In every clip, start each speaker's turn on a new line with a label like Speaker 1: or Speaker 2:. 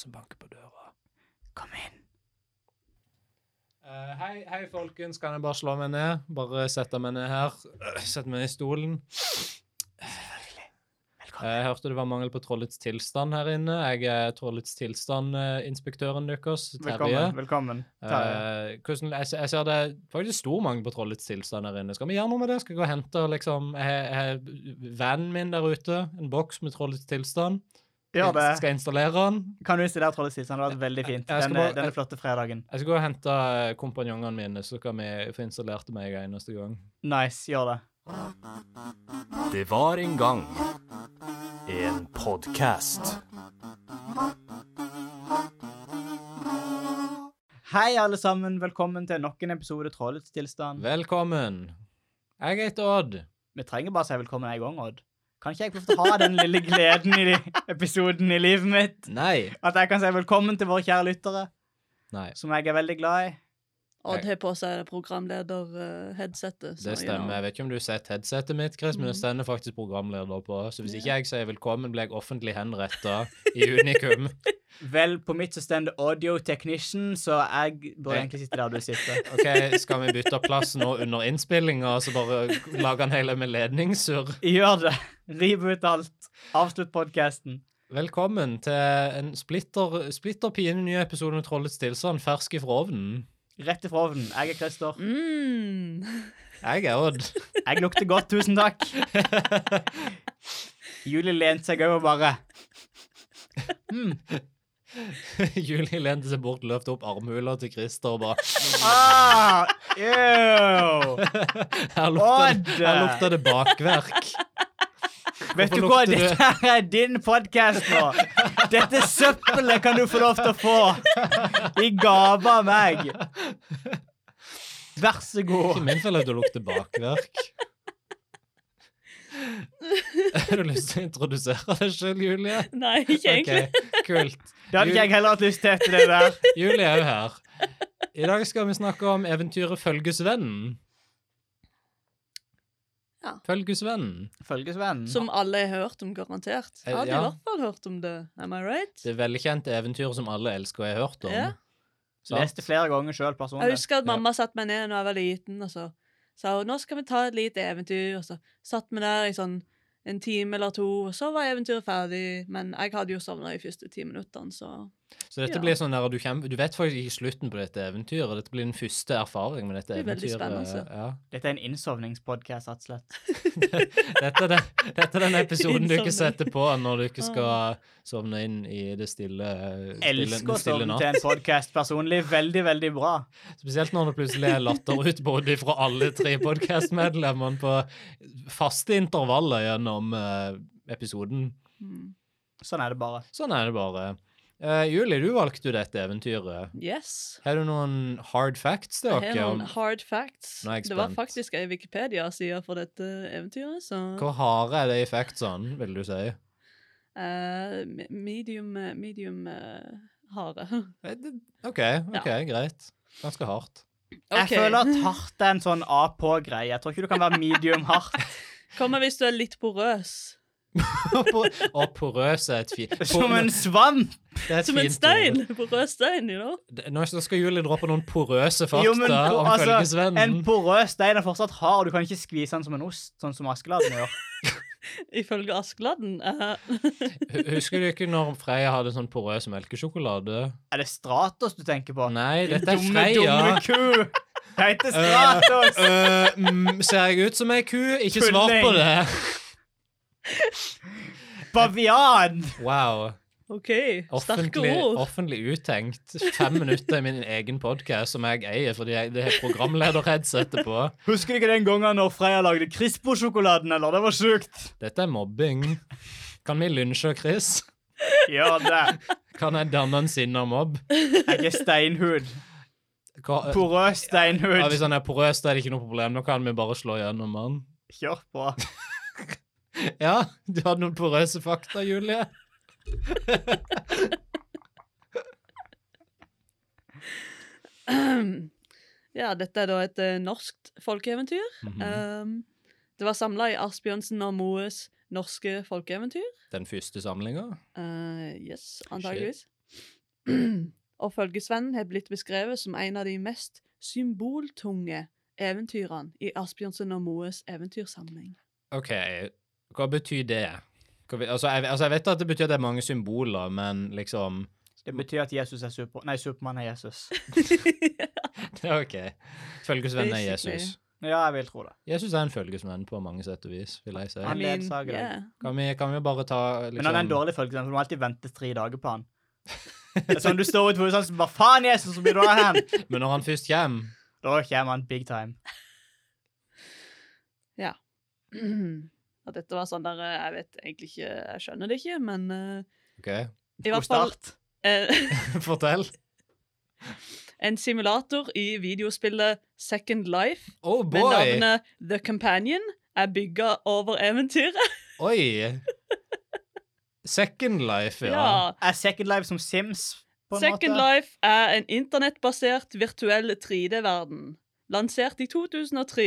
Speaker 1: som banker på døra.
Speaker 2: Kom inn.
Speaker 3: Eh, hei, hei, folkens. Kan jeg bare slå meg ned? Bare sette meg ned her. Eh, Sette meg i stolen. Eh,
Speaker 2: Velkommen.
Speaker 3: Jeg hørte det var mangel på trollets tilstand her inne. Jeg er trollets tilstand-inspektøren deres, Terje.
Speaker 4: Velkommen. velkommen. Terje.
Speaker 3: Eh, hvordan, jeg, jeg ser det er faktisk stor mangel på trollets tilstand her inne. Skal vi gjøre noe med det? Skal jeg gå og hente liksom, jeg, jeg, vennen min der ute? En boks med trollets tilstand?
Speaker 4: Gjør det.
Speaker 3: Skal jeg installere den?
Speaker 4: Kan du installere Trollet Sisen? Det hadde vært veldig
Speaker 3: Jeg
Speaker 4: fint.
Speaker 3: skal
Speaker 4: Denne,
Speaker 3: bare-
Speaker 4: denne flotte fredagen.
Speaker 3: Jeg skal gå og hente eh, kompanjongene mine, så kan vi få installert det med en gang neste gang.
Speaker 4: Nice, gjør det.
Speaker 5: Det var en gang en podkast.
Speaker 4: Hei, alle sammen. Velkommen til nok en episode Trollets tilstand.
Speaker 3: Velkommen. Jeg heter Odd.
Speaker 4: Vi trenger bare å si velkommen en gang, Odd. Kan ikke jeg få lov til å ha den lille gleden i de- episoden i livet mitt?
Speaker 3: Nei.
Speaker 4: At jeg kan si velkommen til våre kjære lyttere,
Speaker 3: Nei.
Speaker 4: som jeg er veldig glad i.
Speaker 2: Odd har på seg programleder-headsetet.
Speaker 3: Det stemmer. Jeg vet ikke om du har sett headsetet mitt, Chris, men det stender faktisk programleder på. Så hvis ikke jeg sier velkommen, blir jeg offentlig henretta i unikum.
Speaker 4: Vel, på mitt så står det audio technician, så jeg burde egentlig sitte der du sitter.
Speaker 3: OK, skal vi bytte plass nå under innspillinga, og så bare lage en hel haug med ledningssurr?
Speaker 4: Gjør det. Riv ut alt. Avslutt podkasten.
Speaker 3: Velkommen til en splitter, splitter pine ny episode med Trollets tilstand, fersk ifra ovnen.
Speaker 4: Rett ifra ovnen. Jeg er Christer.
Speaker 2: Mm.
Speaker 3: Jeg er Odd.
Speaker 4: Jeg lukter godt, tusen takk. Julie lente seg over bare.
Speaker 3: Julie lente seg bort, løfte opp armhula til Christer og bare
Speaker 4: Ah, ew.
Speaker 3: Her lukter
Speaker 4: Odd!
Speaker 3: det, her lukter det bakverk.
Speaker 4: Vet du
Speaker 3: Hvorfor
Speaker 4: hva,
Speaker 3: lukter det?
Speaker 4: dette her er din podkast nå. Dette søppelet kan du få lov til å få i gave av meg. Vær så
Speaker 3: Ikke
Speaker 4: god.
Speaker 3: min feil at du lukter bakverk. Har du lyst til å introdusere deg sjøl, Julie?
Speaker 2: Nei, ikke egentlig.
Speaker 3: Ok, kult.
Speaker 4: Det hadde ikke jeg heller hatt lyst til etter det der.
Speaker 3: Julie er jo her. I dag skal vi snakke om eventyret Følgesvennen.
Speaker 2: Ja.
Speaker 3: Følgesvennen.
Speaker 4: Følgesvenn.
Speaker 2: Som alle har hørt om, garantert. Jeg hadde
Speaker 3: Mm. Eh, Ja.
Speaker 2: i hvert fall hørt om det. Am I right?
Speaker 3: Det velkjente eventyret som alle elsker og har hørt om.
Speaker 2: Ja.
Speaker 3: Sant?
Speaker 4: Leste flere ganger sjøl
Speaker 2: Jeg
Speaker 4: personlig.
Speaker 2: husker at mamma satte meg ned da jeg var liten, og så sa hun nå skal vi ta et lite eventyr. Og så satt vi der i sånn en time eller to, og så var eventyret ferdig. Men jeg hadde jo sovna de første ti minuttene, så
Speaker 3: Så dette
Speaker 2: Ja.
Speaker 3: blir sånn der, du, kjem, du vet faktisk ikke slutten på dette eventyret. Dette blir din første erfaring med dette
Speaker 2: Det blir veldig
Speaker 3: eventyret.
Speaker 2: spennende. altså.
Speaker 3: Ja.
Speaker 4: Dette er en innsovningspodkast, rett og slett.
Speaker 3: Dette, er den, dette er den episoden du ikke
Speaker 2: Innsovning.
Speaker 3: setter på når du ikke
Speaker 2: Ah.
Speaker 3: skal sovne inn i det stille, stille,
Speaker 4: Elsker
Speaker 3: den
Speaker 4: å
Speaker 3: stille
Speaker 4: sovne til en podkast personlig. Veldig, veldig bra.
Speaker 3: Spesielt når det plutselig er latterutbrudd fra alle tre podkastmedlemmene på faste intervaller gjennom eh, episoden.
Speaker 2: mm.
Speaker 4: Sånn er det bare.
Speaker 3: Sånn er det bare. Eh, Julie, du valgte jo dette eventyret.
Speaker 2: yes.
Speaker 3: Har du noen hard facts til
Speaker 2: Jeg har
Speaker 3: dere?
Speaker 2: noen
Speaker 3: om
Speaker 2: hard facts.
Speaker 3: Nå er jeg
Speaker 2: Det var
Speaker 3: spent.
Speaker 2: faktisk ei Wikipedia-side for dette eventyret, så
Speaker 3: Hvor harde er de effektsene, sånn, vil du si?
Speaker 2: eh, me- medium, eh, medium eh, harde.
Speaker 3: Eh, det- OK, ok, greit. Ganske hardt.
Speaker 2: Ok.
Speaker 4: Jeg føler at hardt er en sånn A-på-greie. Jeg tror ikke du kan være medium hardt.
Speaker 2: Kommer hvis du er litt porøs.
Speaker 3: Og porøs er et fint
Speaker 4: Som en svamp!
Speaker 3: Det er et
Speaker 2: Som en
Speaker 3: fint
Speaker 2: stein!
Speaker 3: ord.
Speaker 2: Porøs stein, you know?
Speaker 3: Det- Nå skal Julie dra på noen porøse fakta
Speaker 4: Jo, men po-
Speaker 3: om
Speaker 4: altså, En
Speaker 3: følgesvennen.
Speaker 4: porøs stein er fortsatt hard, og du kan ikke skvise den som en ost, sånn som Askeladden gjør.
Speaker 2: Ifølge Askeladden. eh,
Speaker 3: Hu- Husker du ikke når Freya hadde sånn porøs melkesjokolade?
Speaker 4: Er det Stratos du tenker på?
Speaker 3: Nei,
Speaker 4: Din
Speaker 3: dette er
Speaker 4: dumme,
Speaker 3: Freya. Eh.
Speaker 4: dumme ku! Det heter Stratos!
Speaker 3: Øh, mm, ser jeg ut som ei ku? Ikke svar på
Speaker 4: Tulling.
Speaker 3: det.
Speaker 4: Bavian!
Speaker 3: Wow.
Speaker 2: OK, sterke
Speaker 3: Offentlig,
Speaker 2: ord.
Speaker 3: offentlig uttenkt. Fem minutter i min egen podkast som jeg eier fordi jeg, det er programlederheadsetet på.
Speaker 4: Husker du ikke den gangen når Freya lagde Crispo-sjokoladen, eller? Det var sjukt!
Speaker 3: Dette er mobbing. Kan vi lynsje Chris?
Speaker 4: Gjør det.
Speaker 3: Kan jeg danne en sinna mobb?
Speaker 4: Jeg er steinhud.
Speaker 3: Hva-
Speaker 4: Porøs
Speaker 3: Ja,
Speaker 4: steinhud.
Speaker 3: hvis han er porøs, da er det ikke noe problem. Nå kan vi bare slå gjennom han.
Speaker 4: Kjør på.
Speaker 3: Ja, du hadde noen porøse fakta, Julie.
Speaker 2: ja, dette er da et eh, norskt folkeeventyr.
Speaker 3: Mhm.
Speaker 4: Eh.
Speaker 2: Um, det var samla i Asbjørnsen og Moes norske folkeeventyr.
Speaker 3: Den første samlinga.
Speaker 2: Eh, yes, antageligvis. og følgesvennen har blitt beskrevet som en av de mest symboltunge eventyrene i Asbjørnsen og Moes eventyrsamling.
Speaker 3: OK, hva betyr det? Hva, be- altså, jeg, altså, jeg vet at det betyr at det er mange symboler, men liksom
Speaker 4: Det betyr at Jesus er super... Nei, Supermann er Jesus.
Speaker 3: OK. Følgesvenn er Jesus.
Speaker 4: Ja, jeg vil tro det.
Speaker 3: Jesus er en følgesvenn på mange sett og vis, vil jeg si.
Speaker 4: Han ledsager deg.
Speaker 2: yeah.
Speaker 3: Kan vi, kan vi jo bare ta liksom
Speaker 4: Men han er en dårlig følgesvenn, for du må alltid vente tre dager på han. Det er sånn du står utenfor sånn, Hva faen, Jesus, så blir du av hen?
Speaker 3: Men når han først kommer
Speaker 4: Da kommer han big time.
Speaker 2: At dette var sånn der eh, Jeg vet egentlig ikke Jeg skjønner det ikke, men eh,
Speaker 3: OK,
Speaker 2: i
Speaker 4: God
Speaker 2: hvert fall
Speaker 4: start.
Speaker 2: eh,
Speaker 3: fortell.
Speaker 2: En simulator i videospillet Second Life
Speaker 3: Oh
Speaker 2: med
Speaker 3: boy!
Speaker 2: navnet The Companion er bygga over eventyret.
Speaker 3: Oi! Second Life, ja.
Speaker 2: Ja.
Speaker 4: Er Second Life som Sims, på en
Speaker 2: Second
Speaker 4: måte?
Speaker 2: Life er en internettbasert virtuell 3D-verden. Lansert i 2003.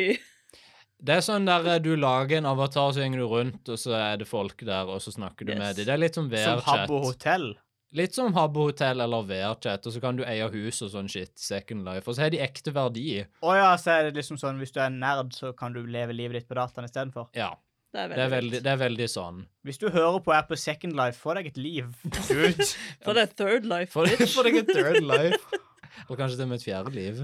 Speaker 3: Det er sånn der eh, du lager en avatar, så går du rundt, og så er det folk der, og så snakker du
Speaker 2: Yes.
Speaker 3: med dem. Det er litt som
Speaker 4: Som Habbo
Speaker 3: VR-chat.
Speaker 4: Hotel.
Speaker 3: Litt som Habbo Hotel eller VR-chat, og så kan du eie hus og sånn shit. Second Life. Og så har de ekte verdi.
Speaker 4: Å ja, så er det liksom sånn hvis du er en nerd, så kan du leve livet ditt på dataen istedenfor.
Speaker 3: Ja.
Speaker 2: Det er
Speaker 3: Det
Speaker 2: veldig,
Speaker 3: er veldig, det er veldig sånn.
Speaker 4: Hvis du hører på og er på Second Life, få deg et liv. Dude.
Speaker 2: vilt. For det er Third Life.
Speaker 3: For, for deg et third life. Eller kanskje til og med et fjerde liv.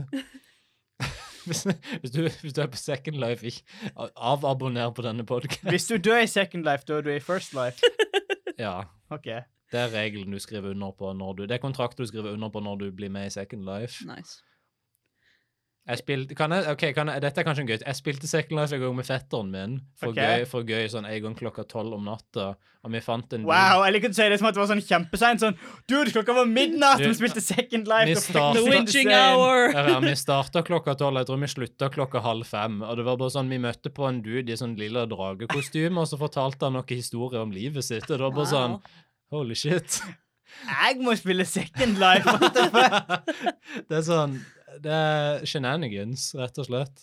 Speaker 3: Hvis, hvis, du, hvis du er på second life, ikke avabonner på denne podkasten.
Speaker 4: Hvis du dør i Second Life, dør du i First Life.
Speaker 3: Ja.
Speaker 4: OK.
Speaker 3: Det er regelen du skriver under på når du Det er kontrakten du skriver under på når du blir med i Second Life.
Speaker 2: Nice.
Speaker 3: Jeg spilte, kan jeg, ok, kan jeg, Dette er kanskje gøy. Jeg spilte Second Life en gang med fetteren min. For,
Speaker 4: Ok.
Speaker 3: gøy, for gøy sånn en gang klokka tolv om natta. Og vi fant en
Speaker 4: Wow, jeg liker å si det som at det var sånn kjempeseint. Sånn Dude, klokka var midnatt, vi spilte Second Life.
Speaker 3: Vi
Speaker 4: og fucking
Speaker 3: startet-
Speaker 2: The
Speaker 4: spilte
Speaker 2: Winging
Speaker 4: sein.
Speaker 2: Hour!
Speaker 3: Ja, ja, vi starta klokka tolv, jeg tror vi slutta klokka halv fem. Og det var bare sånn, Vi møtte på en dude i sånn lilla dragekostyme, og så fortalte han noen historier om livet sitt. Og det var bare sånn
Speaker 2: Wow.
Speaker 3: Holy shit.
Speaker 4: Jeg må spille Second Life. what the fuck?
Speaker 3: det er sånn Det er shenanigans, rett og slett.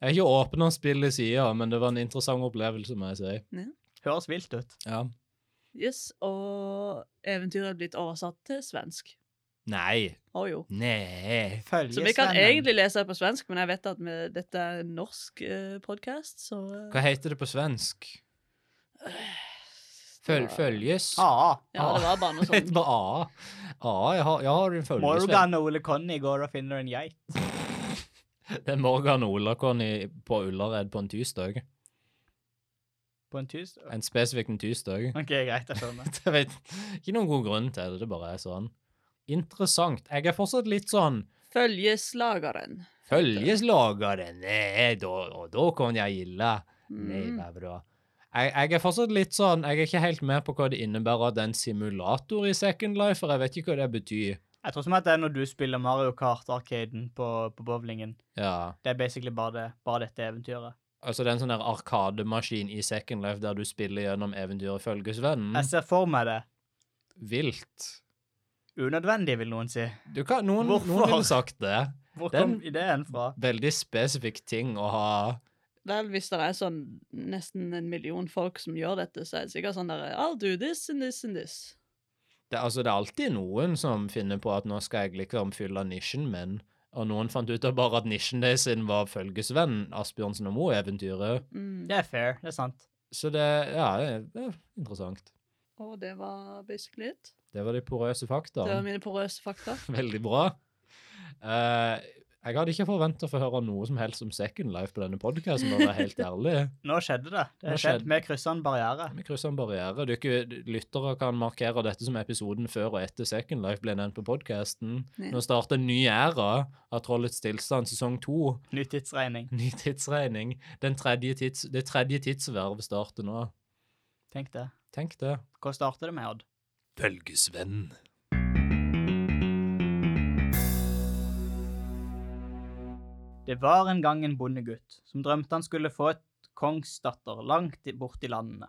Speaker 3: Jeg har ikke åpna spillet i sida, men det var en interessant opplevelse, må jeg si.
Speaker 4: Høres vilt ut.
Speaker 3: Ja.
Speaker 2: Yes, og eventyret er blitt oversatt til svensk.
Speaker 3: Nei.
Speaker 2: Å jo.
Speaker 3: Nei.
Speaker 2: Så vi kan egentlig lese det på svensk, men jeg vet at vi, dette er en norsk eh, podkast, så eh,
Speaker 3: Hva heter det på svensk?
Speaker 2: det
Speaker 3: Føl
Speaker 2: var-
Speaker 3: følges?
Speaker 4: Ah,
Speaker 2: Ja, det var bare noe
Speaker 3: Jeg heter
Speaker 2: sånt.
Speaker 3: bare A. A, jeg har, jeg har en følgesvenn.
Speaker 4: Morgan og Ole Conny går og finner en geit.
Speaker 3: Det er Morgan og Olakon i- på Ullared på en tirsdag.
Speaker 4: På en tus. OK,
Speaker 3: En spesifikk en tirsdag.
Speaker 4: greit, jeg skjønner.
Speaker 3: Jeg vet ikke noen god grunn til det, det bare er sånn. Interessant. Jeg er fortsatt litt sånn
Speaker 2: Følgeslageren.
Speaker 3: Følgeslageren, nei, da, og da kan jeg gille. Nei,
Speaker 2: Mm.
Speaker 3: det er bra. Jeg, jeg er fortsatt litt sånn, jeg er ikke helt med på hva det innebærer at det er en simulator i Second Life, for jeg vet ikke hva det betyr.
Speaker 4: Jeg tror som at det er når du spiller Mario Kart-arkaden på, på bowlingen.
Speaker 3: Ja,
Speaker 4: Det er basically bare, det, bare dette eventyret.
Speaker 3: altså det er en sånn der arkademaskin i Second Life der du spiller gjennom eventyret Følgesvennen.
Speaker 4: Jeg ser for meg det.
Speaker 3: Vilt.
Speaker 4: Unødvendig, vil noen si.
Speaker 3: Du kan, noen, noen
Speaker 4: Hvorfor?
Speaker 3: ville sagt det.
Speaker 4: Hvor
Speaker 3: Den-
Speaker 4: kom ideen fra?
Speaker 3: Veldig spesifikk ting å ha.
Speaker 2: Vel, hvis det er sånn nesten en million folk som gjør dette, så er det sikkert sånn der I'll do this and this and this.
Speaker 3: Det, altså, det er alltid noen som finner på at nå skal jeg liksom fylle nisjen min. Og noen fant ut av bare at nisjen deres sin var følgesvenn Asbjørnsen og Moe-eventyret.
Speaker 2: Mm.
Speaker 4: Det er fair. Det er sant.
Speaker 3: Så det, ja, det er- det er interessant.
Speaker 2: Og det var basically it.
Speaker 3: Det var de porøse
Speaker 2: Det var
Speaker 3: faktaene.
Speaker 2: mine porøse fakta.
Speaker 3: Veldig bra. Eh, jeg hadde ikke forventa å få høre noe som helst om Second Life på denne podkasten, for å være helt ærlig.
Speaker 4: Nå skjedde det. Det
Speaker 3: Nå
Speaker 4: har skjedd.
Speaker 3: skjedde-
Speaker 4: Vi kryssa en barriere.
Speaker 3: Vi krysser en barriere. Du, ikke- lyttere kan markere dette som episoden før og etter Second Life ble nevnt på podkasten.
Speaker 2: Ja.
Speaker 3: Nå starter en ny æra av Trollets tilstand sesong to.
Speaker 4: Ny tidsregning.
Speaker 3: Ny tidsregning. Den tredje tids, det tredje tidsverv starter nå.
Speaker 4: Tenk det.
Speaker 3: Tenk det.
Speaker 4: Hva starter det med, Odd?
Speaker 5: Følgesvenn.
Speaker 4: Det var en gang en bondegutt som drømte han skulle få et kongsdatter langt i- bort i landene.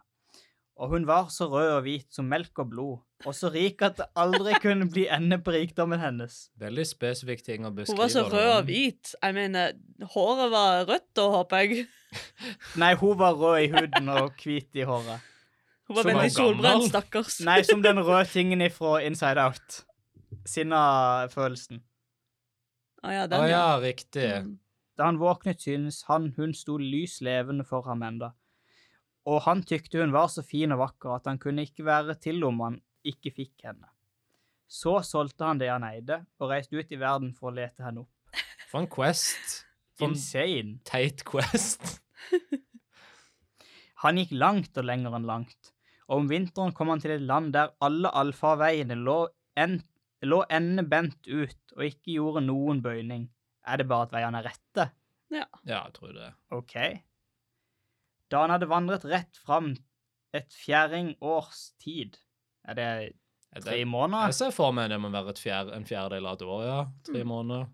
Speaker 4: Og hun var så rød og hvit som melk og blod, og så rik at det aldri kunne bli ende på rikdommen hennes.
Speaker 3: Veldig spesifikk ting å beskrive.
Speaker 2: Hun var så
Speaker 3: det
Speaker 2: rød
Speaker 3: om.
Speaker 2: og hvit. Jeg mener, håret var rødt da, håper jeg.
Speaker 4: Nei, hun var rød i huden og hvit i håret.
Speaker 2: Hun
Speaker 3: Så var
Speaker 2: var veldig
Speaker 3: hun gammel?
Speaker 2: solbrent, stakkars.
Speaker 4: Nei, som den røde tingen ifra Inside Out. Sinna-følelsen.
Speaker 2: Å Ah, ja,
Speaker 3: Å
Speaker 2: den,
Speaker 3: ja,
Speaker 2: ja.
Speaker 3: riktig.
Speaker 2: Mm.
Speaker 4: Da han våknet, synes han hun sto lys levende for ham enda. Og han tykte hun var så fin og vakker at han kunne ikke være til om han ikke fikk henne. Så solgte han det han eide, og reiste ut i verden for å lete henne opp.
Speaker 3: For en quest. For en
Speaker 4: Insane.
Speaker 3: teit quest.
Speaker 4: Han gikk langt og lenger enn langt, og om vinteren kom han til et land der alle allfarveiene lå, en, lå endebendt ut og ikke gjorde noen bøyning. Er det bare at veiene er rette?
Speaker 3: Ja, jeg tror det.
Speaker 4: Ok. Da han hadde vandret rett fram et fjerdingårs tid Er det
Speaker 3: Er
Speaker 4: tre
Speaker 3: det- Jeg
Speaker 4: måneder?
Speaker 3: ser for meg det må være et fjer, en fjerdedel av et år, ja.
Speaker 2: Mm.
Speaker 3: Tre måneder.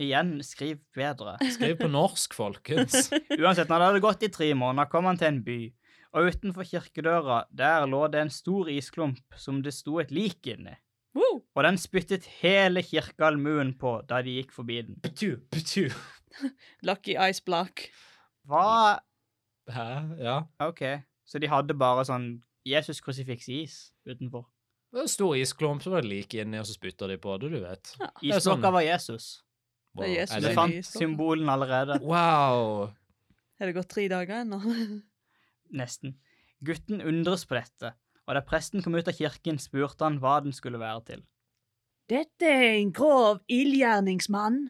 Speaker 4: Igjen, skriv bedre.
Speaker 3: Skriv på norsk, folkens.
Speaker 4: Uansett, når det hadde gått i tre måneder, kom han til en by, og utenfor kirkedøra der lå det en stor isklump som det sto et lik inni.
Speaker 2: Wow.
Speaker 4: og den spyttet hele kirkeallmuen på da de gikk forbi den.
Speaker 3: Ptu, ptu.
Speaker 2: Lucky Ice Black.
Speaker 4: Hva
Speaker 3: Hæ? Ja.
Speaker 4: OK, så de hadde bare sånn Jesus krusifiks-is utenfor.
Speaker 3: Det er en stor isklump som er lik inni, og så spytter de på det, du vet.
Speaker 2: Ja.
Speaker 3: er sånn.
Speaker 4: Isblokka var Jesus.
Speaker 2: Det er Jesus.
Speaker 3: Wow.
Speaker 4: Du
Speaker 2: det
Speaker 4: fant
Speaker 2: isblokka?
Speaker 4: symbolen allerede.
Speaker 3: Wow.
Speaker 2: Har det gått tre dager ennå?
Speaker 4: Nesten. Gutten undres på dette, og da presten kom ut av kirken, spurte han hva den skulle være til.
Speaker 2: Dette er en grov ildgjerningsmann.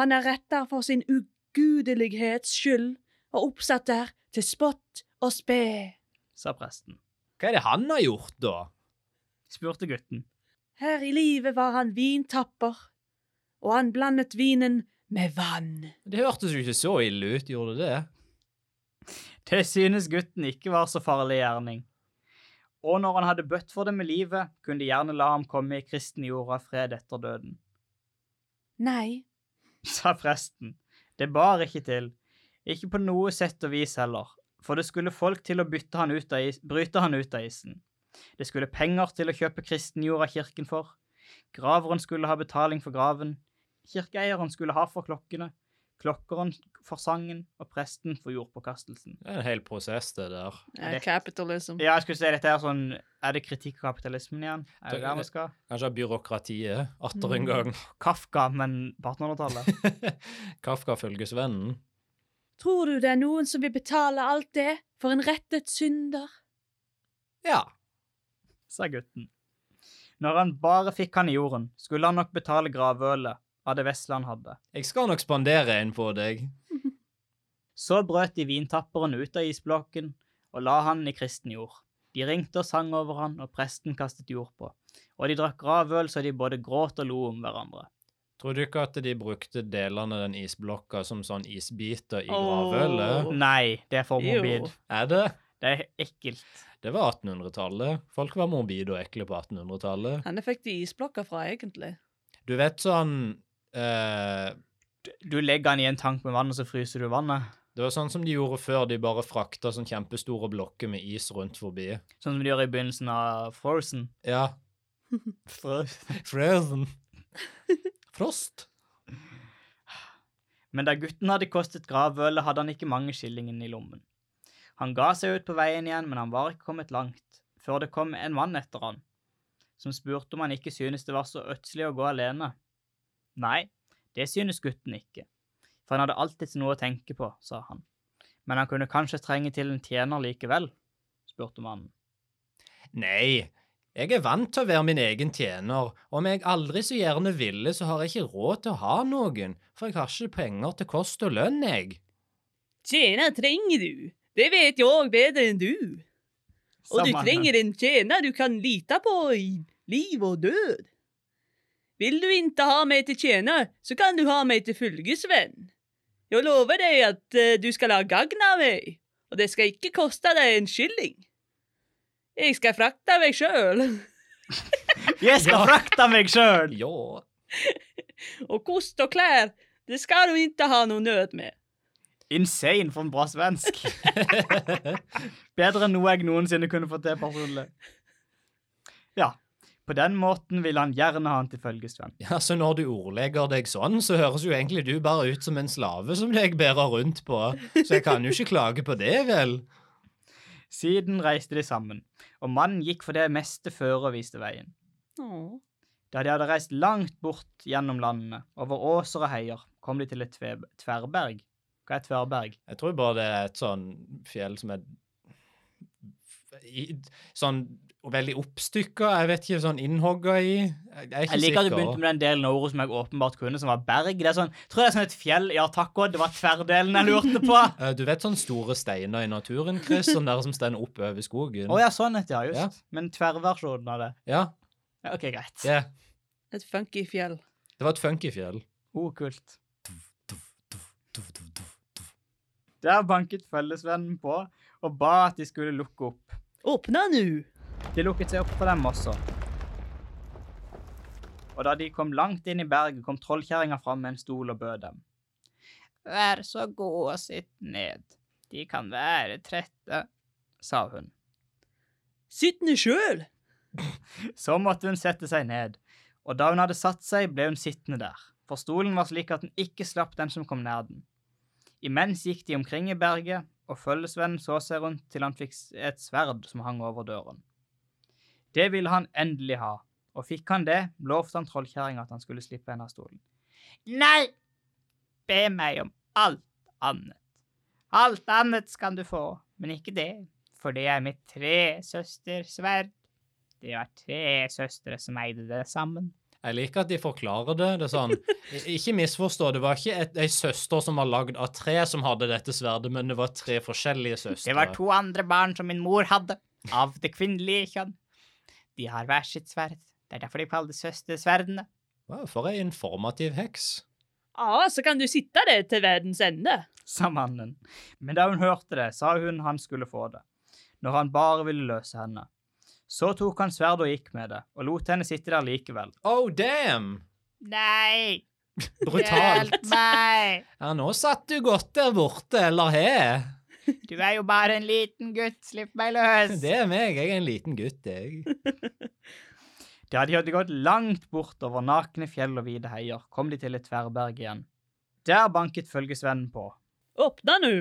Speaker 2: Han er retta for sin ugudelighets skyld og oppsatt der til spott og spe.
Speaker 4: sa presten.
Speaker 3: Hva er det han har gjort, da?
Speaker 4: Spurte gutten.
Speaker 2: Her i livet var han vintapper, og han blandet vinen med vann.
Speaker 3: Det hørtes jo ikke så ille ut, gjorde det det?
Speaker 4: Det synes gutten ikke var så farlig gjerning. Og når han hadde bøtt for det med livet, kunne de gjerne la ham komme i kristen jorda fred etter døden.
Speaker 2: Nei,
Speaker 4: sa presten. Det bar ikke til. Ikke på noe sett og vis heller, for det skulle folk til å bytte han ut av is bryte han ut av isen. Det skulle penger til å kjøpe kristenjord av kirken for. Graveren skulle ha betaling for graven. Kirkeeieren skulle ha for klokkene. Klokkeren for sangen, og presten for jordpåkastelsen.
Speaker 3: Det er en hel prosess, det der.
Speaker 2: eh, capitalism.
Speaker 4: Ja, jeg skulle si dette er sånn Er det kritikk av kapitalismen igjen? Er det der vi skal?
Speaker 3: Kanskje byråkratiet, atter en
Speaker 2: Mm.
Speaker 3: gang.
Speaker 4: Kafka, men på 1800-tallet.
Speaker 3: Kafka følges vennen.
Speaker 2: Tror du det er noen som vil betale alt det for en rettet synder?
Speaker 3: Ja.
Speaker 4: sa gutten. Når han bare fikk han i jorden, skulle han nok betale gravølet av det vesle han hadde.
Speaker 3: Jeg skal nok spandere en på deg.
Speaker 4: Så brøt de vintapperen ut av isblokken og la han i kristen jord. De ringte og sang over han, og presten kastet jord på. Og de drakk gravøl så de både gråt og lo om hverandre.
Speaker 3: Tror du ikke at de brukte delene av den isblokka som sånn isbiter i
Speaker 2: Åh.
Speaker 3: gravølet?
Speaker 4: Nei, det er for
Speaker 2: Jo.
Speaker 4: morbid.
Speaker 3: Er det?
Speaker 4: Det er ekkelt.
Speaker 3: Det var 1800-tallet. Folk var morbide og ekle på 1800-tallet.
Speaker 2: Henne fikk de isblokker fra, egentlig.
Speaker 3: Du vet sånn eh,
Speaker 4: Du legger han i en tank med vann, og så fryser du vannet.
Speaker 3: Det var sånn som de gjorde før. De bare frakta sånn kjempestore blokker med is rundt forbi.
Speaker 4: Sånn som de gjør i begynnelsen av Frozen.
Speaker 3: Ja. Frozen. Frost.
Speaker 4: men da gutten hadde kostet gravølet, hadde han ikke mange skillingene i lommen. Han ga seg ut på veien igjen, men han var ikke kommet langt, før det kom en mann etter han, som spurte om han ikke synes det var så ødselig å gå alene. Nei, det synes gutten ikke, for han hadde alltid noe å tenke på, sa han. Men han kunne kanskje trenge til en tjener likevel, spurte mannen.
Speaker 3: Nei, jeg er vant til å være min egen tjener. Om jeg aldri så gjerne ville, så har jeg ikke råd til å ha noen, for jeg har ikke penger til kost og lønn, jeg.
Speaker 2: Tjener trenger du. Det vet jeg òg bedre enn du. Og
Speaker 4: Sa
Speaker 2: du
Speaker 4: mannen.
Speaker 2: trenger en tjener du kan lite på i liv og død. Vil du ikke ha meg til tjener, så kan du ha meg til følgesvenn. Jeg lover deg at eh, du skal ha gagn av meg, og det skal ikke koste deg en skilling. Jeg skal frakte meg sjøl,
Speaker 4: Jeg skal frakte meg sjøl!
Speaker 3: Ja.
Speaker 2: og kost og klær, det skal du ikke ha noe nød med.
Speaker 4: Insane for en bra svensk. Bedre enn noe jeg noensinne kunne fått til personlig. Ja. På den måten vil han gjerne ha han til følgesvenn.
Speaker 3: ja, så når du ordlegger deg sånn, så høres jo egentlig du bare ut som en slave som jeg bærer rundt på, så jeg kan jo ikke klage på det, vel?
Speaker 4: Siden reiste de sammen, og mannen gikk for det meste føre og viste veien.
Speaker 2: Åh.
Speaker 4: Da de hadde reist langt bort gjennom landene, over åser og heier, kom de til et tve tverrberg. Hva er tverrberg?
Speaker 3: Jeg tror bare det er et sånn fjell som er i, sånn veldig oppstykka. Jeg vet ikke, sånn innhogga i. Jeg er ikke
Speaker 4: Jeg liker at du
Speaker 3: sikker.
Speaker 4: begynte med den delen av ordet som jeg åpenbart kunne, som var berg. Det er sånn, jeg tror det er sånn et fjell. Ja, takk òg, det var tverrdelen jeg lurte på. Å
Speaker 3: Eh, Du vet sånne store steiner i naturen, Chris? Sånn der som stender opp over skogen?
Speaker 4: ja, sånn het det, ja,
Speaker 3: Ja.
Speaker 4: just. Men tverrversjonen av det.
Speaker 3: ja.
Speaker 4: Ja, OK, greit.
Speaker 3: ja.
Speaker 2: Et funky fjell.
Speaker 3: Det var et funky fjell.
Speaker 4: Oh, kult. Der banket følgesvennen på og ba at de skulle lukke opp.
Speaker 2: Åpna nå!
Speaker 4: De lukket seg opp for dem også. Og da de kom langt inn i berget, kom trollkjerringa fram med en stol og bød dem. Vær så god og sitt ned. De kan være trette, sa hun.
Speaker 2: Sitt ned sjøl!
Speaker 4: Så måtte hun sette seg ned, og da hun hadde satt seg, ble hun sittende der, for stolen var slik at den ikke slapp den som kom nær den. Imens gikk de omkring i berget, og følgesvennen så seg rundt til han fikk s- et sverd som hang over døren. Det ville han endelig ha, og fikk han det, lovte han trollkjerringa at han skulle slippe henne av stolen. Nei, be meg om alt annet. Alt annet skal du få, men ikke det, for det er mitt tresøstersverd. Det var tre søstre som eide det sammen.
Speaker 3: Jeg liker at de forklarer det. det er sånn, I- Ikke misforstå, det var ikke et, ei søster som var lagd av tre som hadde dette sverdet, men det var tre forskjellige søstre.
Speaker 4: Det var to andre barn som min mor hadde, av det kvinnelige kjønn. De har hver sitt sverd. Det er derfor de kaller det søstersverdene.
Speaker 3: Wow, for ei informativ heks.
Speaker 2: Ja, Ah, så kan du sitte der til verdens ende.
Speaker 4: Sa mannen. Men da hun hørte det, sa hun han skulle få det, når han bare ville løse henne. Så tok han sverdet og gikk med det, og lot henne sitte der likevel.
Speaker 3: Oh, damn!
Speaker 4: Nei!
Speaker 3: Brutalt.
Speaker 4: meg!
Speaker 3: Ja, nå satt du godt der borte, eller he?
Speaker 4: Du er jo bare en liten gutt, slipp meg løs!
Speaker 3: Det er meg, jeg er en liten gutt, jeg.
Speaker 4: Da de hadde gått langt bortover nakne fjell og vide heier, kom de til et tverrberg igjen. Der banket følgesvennen på.
Speaker 2: Åpna nå!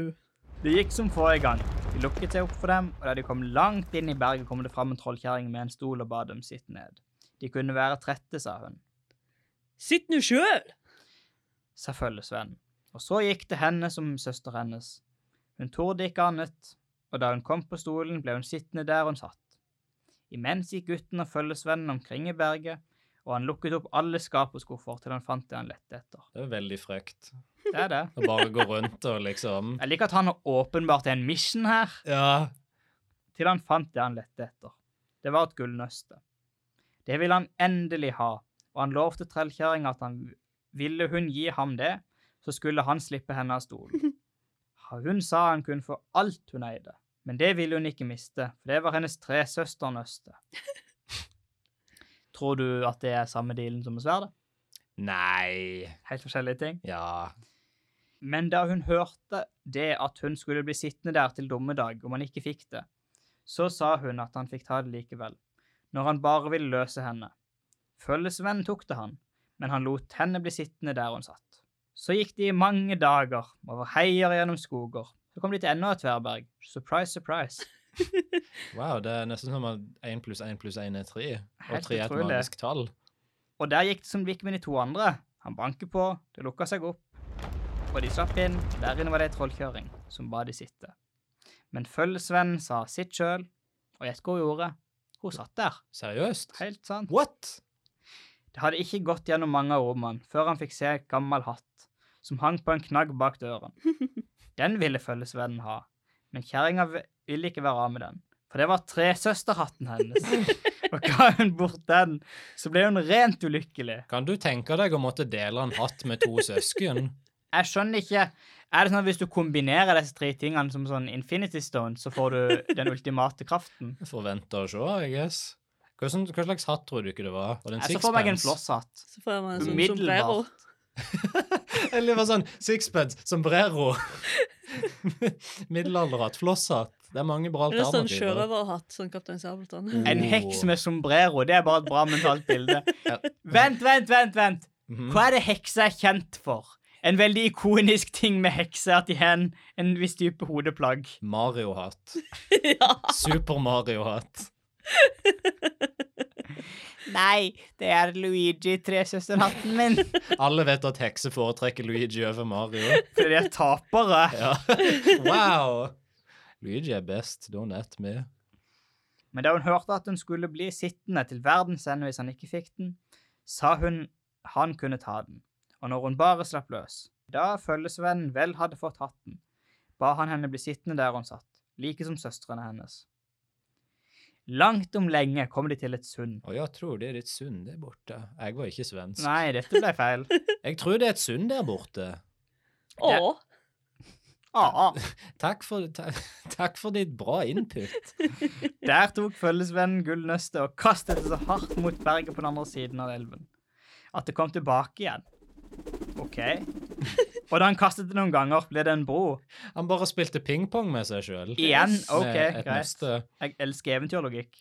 Speaker 4: Det gikk som forrige gang. De lukket seg opp for dem, og da de kom langt inn i berget, kom det fram en trollkjerring med en stol og ba dem sitte ned. De kunne være trette, sa hun,
Speaker 2: Sitt nå sjøl!
Speaker 4: sa følgesvennen. Og så gikk det henne som søster hennes. Hun torde ikke annet, og da hun kom på stolen, ble hun sittende der hun satt. Imens gikk gutten og følgesvennen omkring i berget, og han lukket opp alle skap og skuffer til han fant det han lette etter.
Speaker 3: Det er veldig frekt.
Speaker 4: Det er det.
Speaker 3: Å bare gå rundt og liksom
Speaker 4: Jeg liker at han har åpenbart en mission her,
Speaker 3: Ja.
Speaker 4: til han fant det han lette etter. Det var et gullnøste. Det ville han endelig ha, og han lovte trellkjerringa at han ville hun gi ham det, så skulle han slippe henne av stolen. Hun sa han kunne få alt hun eide, men det ville hun ikke miste, for det var hennes tresøsternøste. Tror du at det er samme dealen som med sverdet?
Speaker 3: Nei.
Speaker 4: Helt forskjellige ting?
Speaker 3: Ja.
Speaker 4: Men da hun hørte det at hun skulle bli sittende der til dommedag om han ikke fikk det, så sa hun at han fikk ta det likevel, når han bare ville løse henne. Følgesvennen tok det han, men han lot henne bli sittende der hun satt. Så gikk de i mange dager, over heier gjennom skoger. Så kom de til enda et tverrberg. Surprise, surprise.
Speaker 3: Wow, det er nesten som at én pluss én pluss én er tre, og
Speaker 4: Helt
Speaker 3: tre er et
Speaker 4: utrolig.
Speaker 3: magisk tall.
Speaker 4: Og der gikk det som det gikk med de to andre. Han banket på, det lukka seg opp, og de slapp inn. Der inne var det ei trollkjøring som ba de sitte. Men følgesvennen sa sitt sjøl, og gjett hva hun gjorde? Hun satt der.
Speaker 3: Seriøst?
Speaker 4: Helt sant.
Speaker 3: What?
Speaker 4: Det hadde ikke gått gjennom mange av rommene før han fikk se et gammel hatt som hang på en knagg bak døren. Den ville følgesvennen ha, men kjerringa v- ville ikke være av med den, for det var tresøsterhatten hennes. Og ga hun bort den, så ble hun rent ulykkelig.
Speaker 3: Kan du tenke deg å måtte dele en hatt med to søsken?
Speaker 4: Jeg skjønner ikke. Er det sånn at hvis du kombinerer disse tre tingene som sånn Infinity Stone, så får du den ultimate kraften?
Speaker 3: Forventa å se, I guess. Hva, sånn, hva slags hatt tror du ikke det var? Var det en
Speaker 4: Jeg så for meg en
Speaker 3: sixpence?
Speaker 4: flosshatt.
Speaker 2: Så får man en sånn sombrero.
Speaker 4: Umiddelbart.
Speaker 3: Eller det var sånn sixpence, sombrero. Middelalderhatt, flosshatt. Det er mange bra
Speaker 2: Eller sånn
Speaker 3: alternativer.
Speaker 2: sjørøverhatt, sånn Kaptein Sabeltann.
Speaker 4: En heks med sombrero. Det er bare et bra mentalt bilde.
Speaker 3: Ja.
Speaker 4: Vent, vent, vent, vent.
Speaker 3: Mhm.
Speaker 4: Hva er det hekser er kjent for? En veldig ikonisk ting med hekser er at de har en, en viss type hodeplagg.
Speaker 3: Mario-hat.
Speaker 2: ja.
Speaker 3: Super-Mario-hat.
Speaker 4: Nei, det er Luigi Tresøsterhatten min.
Speaker 3: Alle vet at hekser foretrekker Luigi over Mario.
Speaker 4: For de er tapere.
Speaker 3: Ja. Wow! Luigi er best. Don't at me.
Speaker 4: Men da hun hørte at hun skulle bli sittende til verdens ende hvis han ikke fikk den, sa hun han kunne ta den, og når hun bare slapp løs, da følgesvennen vel hadde fått hatten, ba han henne bli sittende der hun satt, like som søstrene hennes. Langt om lenge kom de til et sund.
Speaker 3: Og jeg tror det er et sund der borte. Jeg var ikke svensk.
Speaker 4: Nei, dette ble feil.
Speaker 3: Jeg tror det er et sund der borte.
Speaker 2: Å,
Speaker 4: Ah,
Speaker 3: Takk for, ta, takk for ditt bra input.
Speaker 4: Der tok følgesvennen gullnøstet og kastet det så hardt mot berget på den andre siden av elven at det kom tilbake igjen. OK. Og da han kastet det noen ganger, ble det en bro.
Speaker 3: Han bare spilte pingpong med seg sjøl.
Speaker 4: Igjen? OK,
Speaker 3: med et
Speaker 4: greit.
Speaker 3: nøste.
Speaker 4: Jeg elsker eventyrlogikk.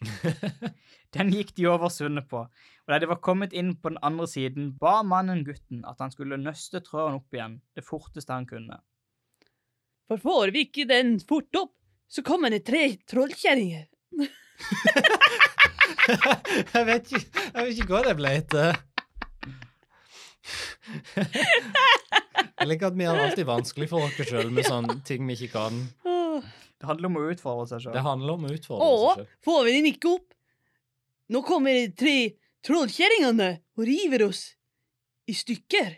Speaker 4: Den gikk de over sundet på, og da de var kommet inn på den andre siden, ba mannen gutten at han skulle nøste tråden opp igjen det forteste han kunne.
Speaker 2: for får vi ikke den fort opp, så kommer det tre trollkjerringer.
Speaker 3: jeg, vet ikke, jeg vet ikke hva det ble til. Jeg liker at vi har alltid vanskelig for oss sjøl med sånne ting vi ikke kan.
Speaker 2: Åh.
Speaker 4: Det handler om å utfordre seg
Speaker 3: Det
Speaker 4: sjøl.
Speaker 3: handler om å utfordre
Speaker 2: Å,
Speaker 3: seg sjøl.
Speaker 2: får vi den ikke opp? Nå kommer de tre trollkjerringene og river oss i stykker.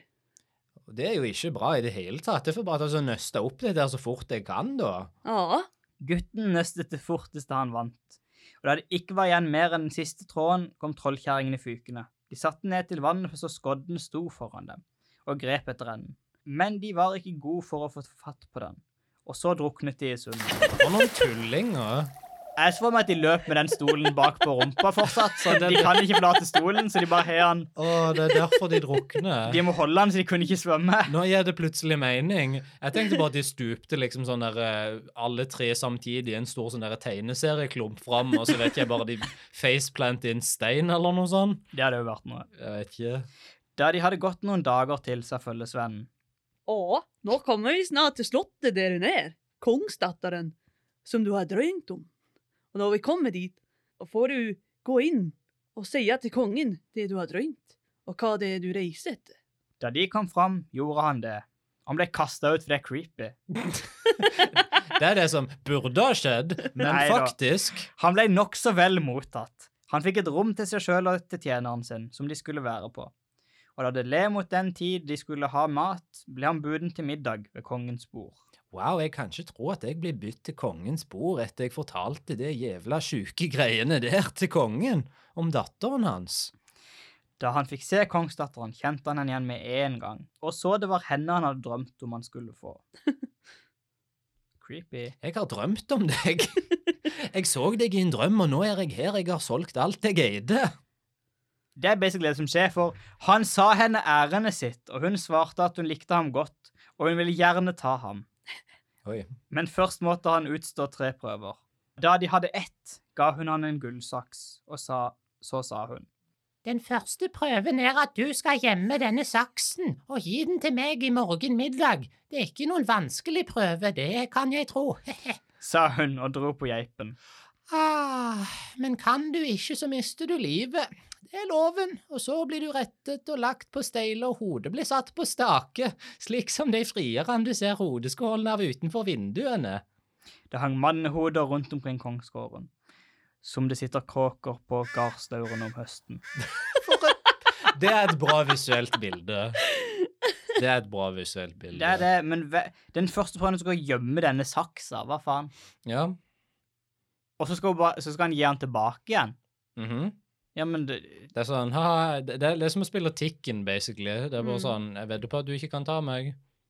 Speaker 3: Det er jo ikke bra i det hele tatt. Jeg får bare ta og nøste opp det der så fort jeg kan, da.
Speaker 2: Ja.
Speaker 4: Gutten nøstet det forteste han vant, og da det ikke var igjen mer enn den siste tråden, kom trollkjerringene fykende. De satte ned til vannet så skodden sto foran dem, og grep etter enden. Men de var ikke gode for å få fatt på den, og så druknet de i sundet.
Speaker 3: For noen tullinger.
Speaker 4: Jeg så for meg at de løp med den stolen bak på rumpa fortsatt, så de kan ikke forlate stolen, så de bare har den.
Speaker 3: Å, det er derfor de drukner.
Speaker 4: De må holde den, så de kunne ikke svømme.
Speaker 3: Nå gir det plutselig mening. Jeg tenkte bare at de stupte liksom sånn der eh, alle tre samtidig i en stor sånn der tegneserieklump fram, og så vet jeg bare de faceplant i en stein eller noe sånt.
Speaker 4: Det hadde jo vært noe.
Speaker 3: Jeg vet ikke.
Speaker 4: Da de hadde gått noen dager til, sa følgesvennen.
Speaker 2: Å, nå kommer vi snart til slottet der hun er, kongsdatteren, som du har drømt om. Og når vi kommer dit, da får du gå inn og si til kongen det du har drømt, og hva det er du reiser etter.
Speaker 4: Da de kom fram, gjorde han det. Han ble kasta ut, for det er creepy.
Speaker 3: Det er det som burde ha skjedd, men
Speaker 4: Nei da.
Speaker 3: faktisk
Speaker 4: Han ble nokså vel mottatt. Han fikk et rom til seg sjøl og til tjeneren sin, som de skulle være på. Og da det le mot den tid de skulle ha mat, ble han buden til middag ved kongens bord.
Speaker 3: Wow, jeg kan ikke tro at jeg blir bytt til kongens bord etter jeg fortalte det jævla sjuke greiene der til kongen om datteren hans.
Speaker 4: Da han fikk se kongsdatteren, kjente han henne igjen med en gang, og så det var henne han hadde drømt om han skulle få. Creepy.
Speaker 3: Jeg har drømt om deg. Jeg så deg i en drøm, og nå er jeg her. Jeg har solgt alt jeg eide.
Speaker 4: Det er basically det som skjer, for han sa henne ærendet sitt, og hun svarte at hun likte ham godt, og hun ville gjerne ta ham.
Speaker 3: Oi.
Speaker 4: Men først måtte han utstå tre prøver. Da de hadde ett, ga hun han en gullsaks, og sa, så sa hun.
Speaker 1: Den første prøven er at du skal gjemme denne saksen og gi den til meg i morgen middag. Det er ikke noen vanskelig prøve, det kan jeg tro.
Speaker 4: Sa hun og dro på geipen.
Speaker 1: ah, men kan du ikke, så mister du livet. Det er loven, og så blir du rettet og lagt på steile, og hodet blir satt på stake, slik som de frierne du ser hodeskålen av utenfor vinduene.
Speaker 4: Det hang mannehoder rundt omkring kongsgården, som det sitter kråker på gardstaurene om høsten.
Speaker 3: Det er et bra visuelt bilde. Det er et bra visuelt bilde.
Speaker 4: Det er det, men ve den første prøven skal hun gjemme denne saksa, hva faen?
Speaker 3: Ja.
Speaker 4: Og så skal, hun bare, så skal han gi han tilbake igjen.
Speaker 3: Mhm.
Speaker 4: Ja, men det,
Speaker 3: Det er sånn ha, det, det er det er som å spille Tikken, basically. Det er bare
Speaker 2: Mm.
Speaker 3: sånn Jeg vedder på at du ikke kan ta meg.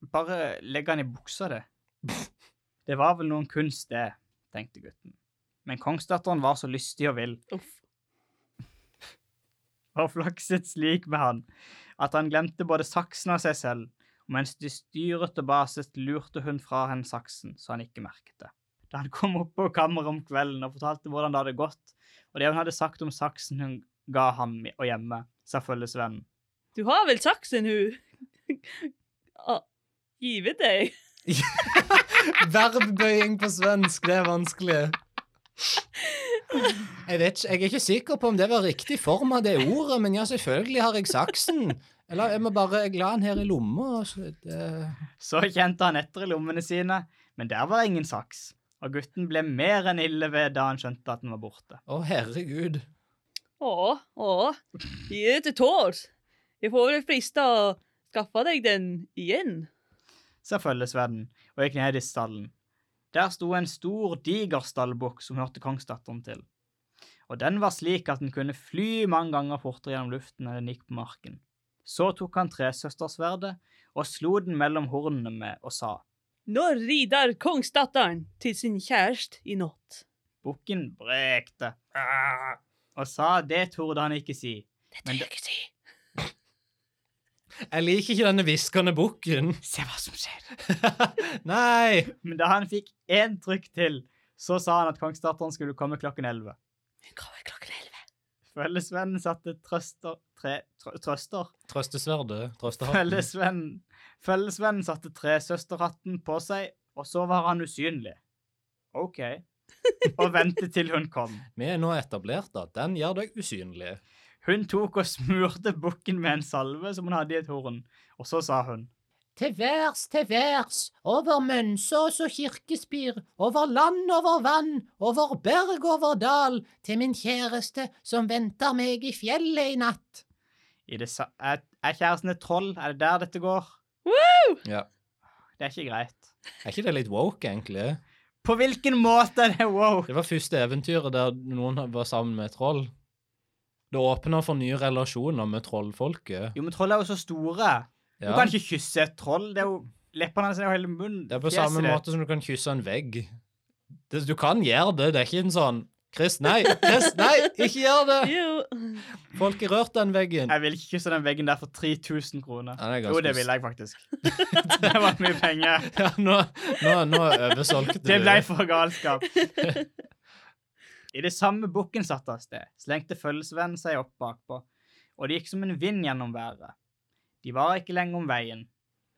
Speaker 4: bare legg han i buksa, det. Det var vel noen kunst, det, tenkte gutten. Men kongsdatteren var så lystig og vill,
Speaker 2: Uff.
Speaker 4: og flakset slik med han, at han glemte både saksen og seg selv, og mens de styret og baset, lurte hun fra henne saksen, så han ikke merket det. Da han kom opp på kammeret om kvelden og fortalte hvordan det hadde gått, og det hun hadde sagt om saksen hun ga ham i- å gjemme, sa følgesvennen.
Speaker 2: Du har vel saksen, hun? å, givet deg.
Speaker 3: Verbbøying på svensk, det er vanskelig. Jeg vet ikke, jeg er ikke sikker på om det var riktig form av det ordet, men ja, selvfølgelig har jeg saksen. Eller jeg må bare jeg la den her i lomma. og Så eh, det...
Speaker 4: Så kjente han etter i lommene sine, men der var ingen saks. Og gutten ble mer enn ille ved da han skjønte at den var borte.
Speaker 3: Å, herregud.
Speaker 2: Å, å, gi det til tåls. Jeg får vel friste å skaffe deg den igjen.
Speaker 4: sa følgesvennen og gikk ned i stallen. Der sto en stor, diger stallbukk som hørte kongsdatteren til. Og den var slik at den kunne fly mange ganger fortere gjennom luften enn den gikk på marken. Så tok han tresøstersverdet og slo den mellom hornene med og sa.
Speaker 2: Nå rider kongsdatteren til sin kjæreste i natt.
Speaker 4: Bukken brekte «Ah!» og sa det torde han ikke si.
Speaker 2: Det
Speaker 4: Men
Speaker 2: tør jeg ikke si.
Speaker 3: Jeg liker ikke denne hviskende bukken.
Speaker 4: Se hva som skjer.
Speaker 3: Nei.
Speaker 4: Men da han fikk én trykk til, så sa han at kongsdatteren skulle komme klokken elleve.
Speaker 2: Hun kommer klokken elleve.
Speaker 4: Følgesvennen satte trøster tre, trø, Trøster?
Speaker 3: Trøstesverdet. Trøstehatten.
Speaker 4: Følgesvennen Følgesvennen satte tresøsterhatten på seg, og så var han usynlig. OK. Og ventet til hun kom.
Speaker 3: Vi er nå etablert at den gjør deg usynlig.
Speaker 4: Hun tok og smurte bukken med en salve som hun hadde i et horn, og så sa hun
Speaker 1: Til værs, til værs, over Mønsås og kirkespir, over land, over vann, over berg, over dal, til min kjæreste som venter meg i fjellet i natt.
Speaker 4: I det sa er, er kjæresten et troll? Er det der dette går?
Speaker 3: Ja.
Speaker 4: Det er ikke greit.
Speaker 3: Er ikke det litt woke, egentlig?
Speaker 4: På hvilken måte er det wow?
Speaker 3: Det var første eventyret der noen var sammen med et troll. Det åpner for nye relasjoner med trollfolket.
Speaker 4: Jo, men troll er jo så store. Du
Speaker 3: Ja.
Speaker 4: kan ikke kysse et troll. Det er jo Leppene hans er jo hele munnen.
Speaker 3: Det er på
Speaker 4: fjeset
Speaker 3: samme
Speaker 4: ditt.
Speaker 3: måte som du kan kysse en vegg. Det, du kan gjøre det, det er ikke en sånn Chris, nei! Chris, nei! Ikke gjør det!
Speaker 2: Jo.
Speaker 3: Folk har rørt den veggen.
Speaker 4: Jeg vil ikke kysse den veggen der for 3000 kroner.
Speaker 3: Ja, det er ganske
Speaker 4: Jo, det ville jeg faktisk. det var mye penger.
Speaker 3: Ja, nå, nå, nå oversolgte du.
Speaker 4: Det ble for galskap. I det samme bukken satt av sted, slengte følgesvennen seg opp bakpå, og det gikk som en vind gjennom været. De var ikke lenge om veien.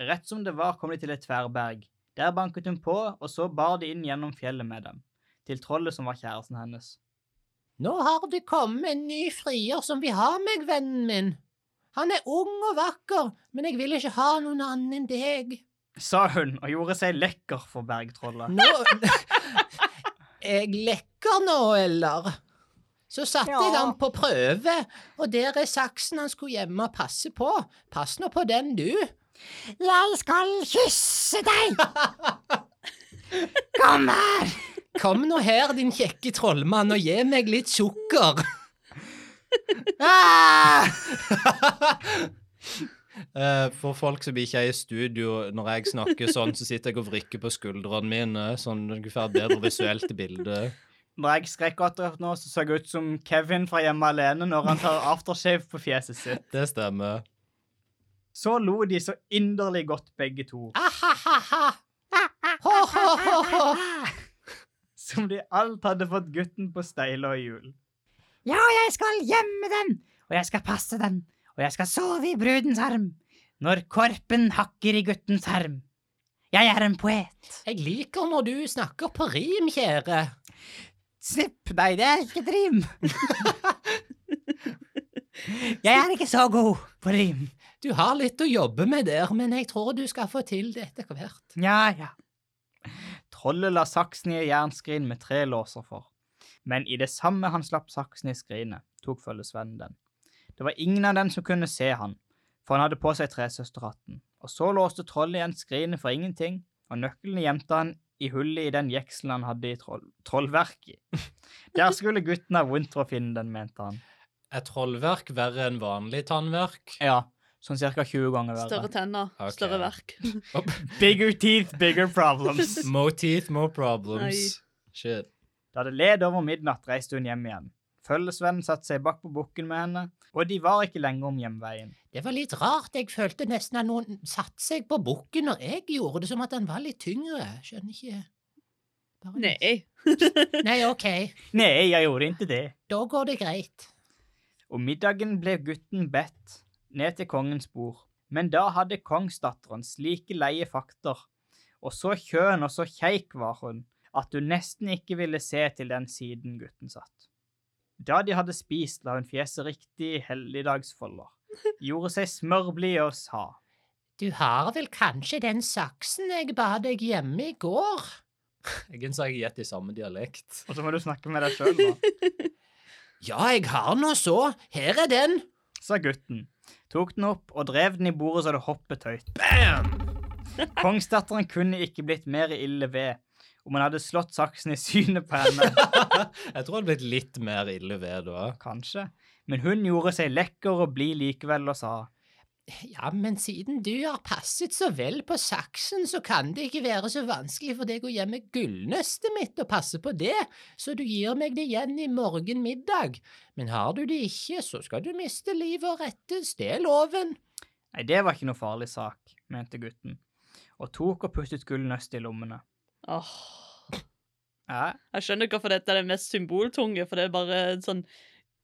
Speaker 4: Rett som det var, kom de til et tverrberg. Der banket hun på, og så bar de inn gjennom fjellet med dem, til trollet som var kjæresten hennes.
Speaker 1: Nå har det kommet en ny frier som vil ha meg, vennen min. Han er ung og vakker, men jeg vil ikke ha noen annen enn deg.
Speaker 4: Sa hun, og gjorde seg lekker for bergtrollet.
Speaker 1: Nå Jeg lekker nå, eller? Så satte jeg han på prøve, og der er saksen han skulle hjemme og passe på. Pass nå på den, du. Jeg skal kysse deg! Kom her! Kom nå her, din kjekke trollmann, og gi meg litt sukker. Ah!
Speaker 3: Eh, for folk som ikke er i studio, når jeg snakker sånn, så sitter jeg og vrikker på skuldrene mine, sånn at du får et bedre visuelt bilde.
Speaker 4: Når jeg skrek akkurat nå, så så jeg ut som Kevin fra Hjemme alene når han tar aftershave på fjeset sitt.
Speaker 3: Det stemmer.
Speaker 4: Så lo de så inderlig godt, begge to,
Speaker 1: Ah-ha-ha-ha! Ho-ho-ho-ho!
Speaker 4: som de alt hadde fått gutten på steile og hjul.
Speaker 6: Ja, jeg skal gjemme den, og jeg skal passe den, og jeg skal sove i brudens arm, når korpen hakker i guttens arm. Jeg er en poet.
Speaker 1: Jeg liker når du snakker på rim, kjære.
Speaker 6: Slipp meg, det er ikke et rim. jeg er ikke så god på rim.
Speaker 1: Du har litt å jobbe med der, men jeg tror du skal få til det etter hvert.
Speaker 6: Ja, ja.
Speaker 4: Trollet la saksen i et jernskrin med tre låser for. Men i det samme han slapp saksen i skrinet, tok følgesvennen den. Det var ingen av dem som kunne se han, for han hadde på seg tresøsterhatten. Og så låste trollet igjen skrinet for ingenting, og nøklene gjemte han i hullet i den jekselen han hadde i troll trollverket. Der skulle gutten ha vondt for å finne den, mente han.
Speaker 3: Er trollverk verre enn vanlig tannverk?
Speaker 4: Ja, sånn ca. 20 ganger
Speaker 2: Større
Speaker 4: verre.
Speaker 2: tenner,
Speaker 4: Ah,
Speaker 3: Ok.
Speaker 2: større verk.
Speaker 4: Bigger teeth, bigger problems.
Speaker 3: Mo teeth, mo problems. Shit.
Speaker 4: Da det led over midnatt, reiste hun hjem igjen. Følgesvennen satte seg bak på bukken med henne, og de var ikke lenge om hjemveien.
Speaker 1: Det var litt rart, jeg følte nesten at noen satte seg på bukken når jeg gjorde det, som at han var litt tyngre. Skjønner ikke Bare-
Speaker 2: Nei.
Speaker 1: Nei, ok,
Speaker 4: Nei, jeg gjorde ikke det.
Speaker 1: da går det greit.
Speaker 4: Om middagen ble gutten bedt ned til kongens bord, Men da hadde kongsdatteren slike leie fakter, og så kjønn og så kjeik var hun, at hun nesten ikke ville se til den siden gutten satt. Da de hadde spist, la hun fjeset riktig i helligdagsfolder, gjorde seg smørblid og sa.
Speaker 1: Du har vel kanskje den saksen jeg ba deg hjemme i går? Jeg sa jeg gjett i samme dialekt.
Speaker 4: Og så må du snakke med deg sjøl, da,
Speaker 1: Ja, jeg har nå så. Her er den.
Speaker 4: sa gutten. Tok den opp og drev den i bordet så det hoppet høyt. Kongsdatteren kunne ikke blitt mer ille ved om hun hadde slått saksen i synet på henne.
Speaker 3: Jeg tror det hadde blitt litt mer ille ved da.
Speaker 4: Kanskje. Men hun gjorde seg lekker og blid likevel og sa
Speaker 1: Ja, men siden du har passet så vel på saksen, så kan det ikke være så vanskelig for deg å gjemme gullnøstet mitt og passe på det, så du gir meg det igjen i morgen middag. Men har du det ikke, så skal du miste livet og rettes, det er loven.
Speaker 4: Nei, det var ikke noe farlig sak, mente gutten, og tok og puttet gullnøstet i lommene.
Speaker 2: Åh,
Speaker 4: Ja,
Speaker 2: jeg skjønner hvorfor dette er det mest symboltunge, for det er bare sånn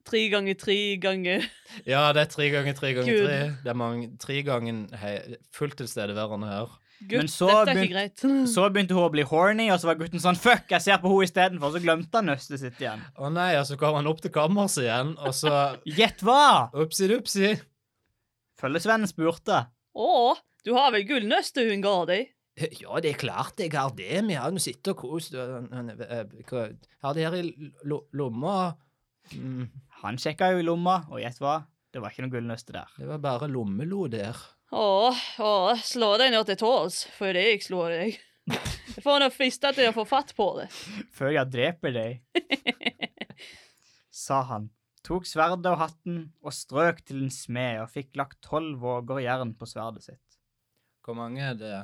Speaker 2: tre ganger tre ganger
Speaker 3: Ja, det er tre ganger tre ganger
Speaker 2: Gud.
Speaker 3: tre. Det er mange, tre ganger hei, fullt tilstedeværende her.
Speaker 2: Gutt,
Speaker 4: så
Speaker 2: dette er
Speaker 4: begyn-
Speaker 2: ikke greit.
Speaker 4: Så begynte hun å bli horny, og så var gutten sånn Fuck, jeg ser på henne istedenfor. Så glemte han nøstet sitt igjen.
Speaker 3: Å nei, og så kommer han opp til kammers igjen, og så
Speaker 4: Gjett hva?
Speaker 3: Upsi-dupsi.
Speaker 4: Følgesvennen spurte.
Speaker 2: Å, du har vel gullnøstet hun ga deg?
Speaker 3: Ja, det er klart jeg har det. Vi har jo sittet og kost. og- og- eh, hva- Har det her i lo- lomma. Mm,
Speaker 4: Han sjekka jo i lomma, og gjett hva? Det var ikke noe gullnøste der.
Speaker 3: Det var bare lommelo der.
Speaker 2: Åh, åh, slå deg nå til tåls, for det jeg slår deg. Jeg får nå friste til jeg får fatt på det.
Speaker 4: Før jeg dreper deg, sa han. Tok sverdet og hatten og strøk til en smed og fikk lagt tolv våger jern på sverdet sitt.
Speaker 3: Hvor mange er det?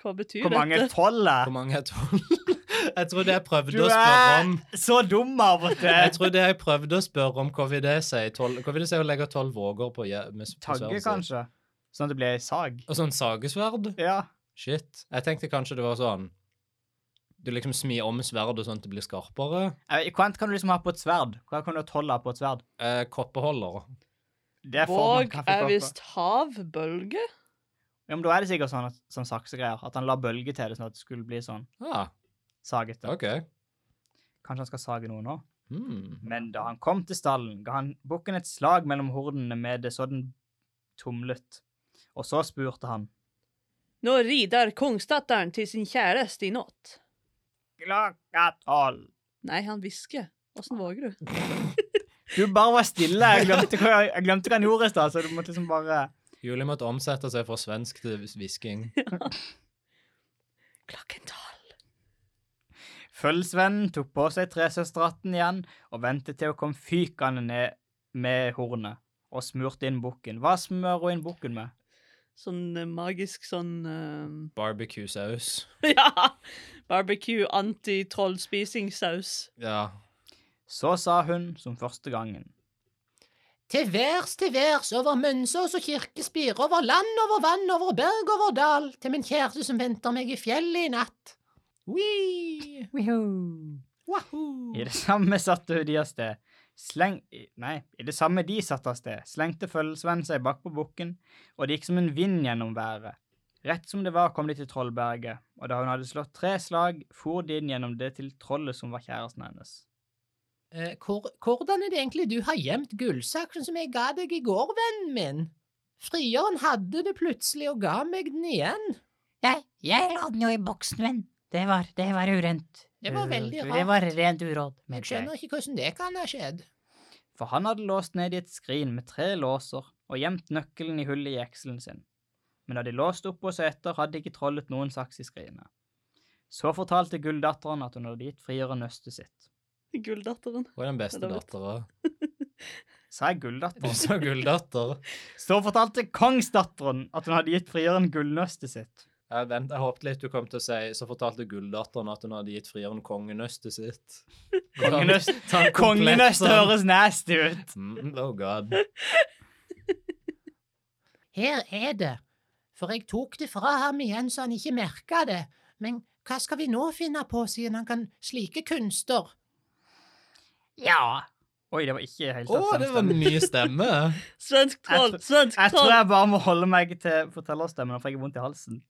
Speaker 2: Hva betyr
Speaker 4: Hvor mange
Speaker 2: dette?
Speaker 4: tolv
Speaker 3: Hvor
Speaker 4: er?
Speaker 3: mange er tolv? Jeg trodde jeg prøvde
Speaker 4: Du
Speaker 3: å spørre
Speaker 4: er
Speaker 3: om
Speaker 4: så dum av og
Speaker 3: Jeg
Speaker 4: til!
Speaker 3: trodde jeg prøvde å spørre om KVD sier tolv KVD sier å legge tolv våger på je- med s- på
Speaker 4: Tagge,
Speaker 3: sverdet sitt.
Speaker 4: kanskje? Sånn at det blir ei sag?
Speaker 3: Og sånn sagesverd?
Speaker 4: Ja.
Speaker 3: Shit. Jeg tenkte kanskje det var sånn Du liksom smir om sverdet sånn at det blir skarpere.
Speaker 4: Eh, Hvem kan du liksom ha på et sverd? Hva kan du ha tolv av på et sverd?
Speaker 3: Eh, koppeholder.
Speaker 4: Det får man
Speaker 2: Våg er
Speaker 4: kaffekopper.
Speaker 2: visst havbølge.
Speaker 4: Ja, men Da er det sikkert sånn, at, sånn saksegreier. At han la bølge til det, sånn at det skulle bli sånn
Speaker 3: Ah,
Speaker 4: sagete.
Speaker 3: OK.
Speaker 4: Kanskje han skal sage noe nå?
Speaker 3: Hmm.
Speaker 4: Men da han kom til stallen, ga han bukken et slag mellom hordene med det så den tumlet. Og så spurte han.
Speaker 2: Nå rider kongsdatteren til sin kjæreste i natt.
Speaker 4: Klokka tolv.
Speaker 2: Nei, han hvisker. Åssen våger du?
Speaker 4: Du bare var stille. Jeg glemte hva, jeg glemte hva han gjorde i stad, så du måtte liksom bare
Speaker 3: Julie måtte omsette seg fra svensk til hvisking.
Speaker 2: Klokken tolv.
Speaker 4: Følgesvennen tok på seg tresøsterhatten igjen og ventet til hun kom fykende ned med hornet og smurte inn bukken. Hva smører hun inn bukken med?
Speaker 2: Sånn eh, magisk sånn eh,
Speaker 3: Barbecue-saus.
Speaker 2: Ja! Barbecue anti-trollspisingsaus.
Speaker 3: Ja.
Speaker 4: Så sa hun som første gangen.
Speaker 1: Til værs, til værs, over Mønsås og kirkespir, over land, over vann, over berg, over dal, til min kjæreste som venter meg i fjellet i natt. Wee! Wahoo!
Speaker 4: I det samme satte hun de av sted. Sleng... i- Nei, i det samme de satte av sted, slengte følgesvennen seg bak på bukken, og det gikk som en vind gjennom været. Rett som det var, kom de til Trollberget, og da hun hadde slått tre slag, for de inn gjennom det til trollet som var kjæresten hennes.
Speaker 1: Eh, hvor, hvordan er det egentlig du har gjemt gullsaksen som jeg ga deg i går, vennen min? Frieren hadde det plutselig og ga meg den igjen.
Speaker 6: Jeg, jeg la den jo i boksen min. Det var, det var urent.
Speaker 1: Det var veldig
Speaker 6: Det- Det
Speaker 1: rart.
Speaker 6: var rent uråd.
Speaker 1: Jeg skjønner ikke hvordan det kan ha skjedd.
Speaker 4: for han hadde låst ned i et skrin med tre låser og gjemt nøkkelen i hullet i jekselen sin. Men da de låste opp og så etter, hadde ikke trollet noen saks i skrinet. Så fortalte gulldatteren at hun hadde gitt frieren nøstet sitt.
Speaker 2: Gulldatteren.
Speaker 3: Hun er den beste
Speaker 2: Det var litt-
Speaker 3: dattera.
Speaker 4: Sa jeg
Speaker 3: Du
Speaker 4: gulldatteren?
Speaker 3: sa gulldatter.
Speaker 4: Så fortalte kongsdatteren at hun hadde gitt frieren gullnøstet sitt.
Speaker 3: Jeg, vent, jeg håpte litt du kom til å si Så fortalte gulldatteren at hun hadde gitt frieren kongenøstet sitt.
Speaker 4: Kongenøst,
Speaker 3: Ta den komplett,
Speaker 4: kongenøst
Speaker 3: sånn.
Speaker 4: høres nasty ut.
Speaker 3: Mm, oh god.
Speaker 1: Her er det, for jeg tok det fra ham igjen så han ikke merka det, men hva skal vi nå finne på siden han kan slike kunster?
Speaker 6: Ja,
Speaker 4: Oi, det var ikke helt
Speaker 3: Å, det var
Speaker 4: stemmen.
Speaker 3: mye stemme.
Speaker 2: Svensk
Speaker 4: Jeg
Speaker 2: troll!
Speaker 4: tror-
Speaker 2: Svensk
Speaker 4: Jeg tror
Speaker 2: troll!
Speaker 4: jeg bare må holde meg til fortellerstemmen, for jeg har vondt i halsen.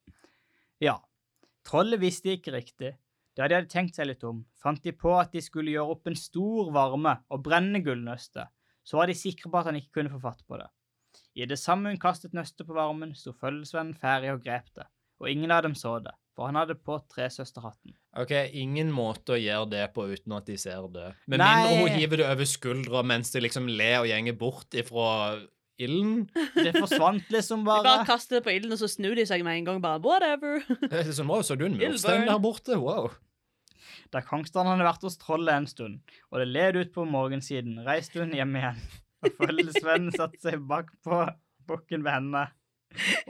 Speaker 4: Ja. Trollet visste ikke riktig. Da de hadde tenkt seg litt om, fant de på at de skulle gjøre opp en stor varme og brenne gullnøstet. Så var de sikre på at han ikke kunne få fatt på det. I det samme hun kastet nøstet på varmen, sto følgesvennen ferdig og grep det. Og ingen av dem så det, for han hadde på tresøsterhatten.
Speaker 3: OK, ingen måte å gjøre det på uten at de ser det. Med
Speaker 4: Nei.
Speaker 3: mindre hun hiver det over skuldra mens de liksom ler og gjenger bort ifra ilden.
Speaker 4: Det forsvant liksom
Speaker 2: De bare
Speaker 4: bare.
Speaker 2: kaster det på ilden, og så snur de seg med en gang. bare, whatever.
Speaker 3: Det er sånn, wow, så du en
Speaker 2: Ildbarn.
Speaker 3: murstein der borte? Wow.
Speaker 4: Da kongstanden hadde vært hos trollet en stund, og det led ut på morgensiden, reiste hun hjem igjen. Og følgesvennen satte seg bak på bukken ved henne.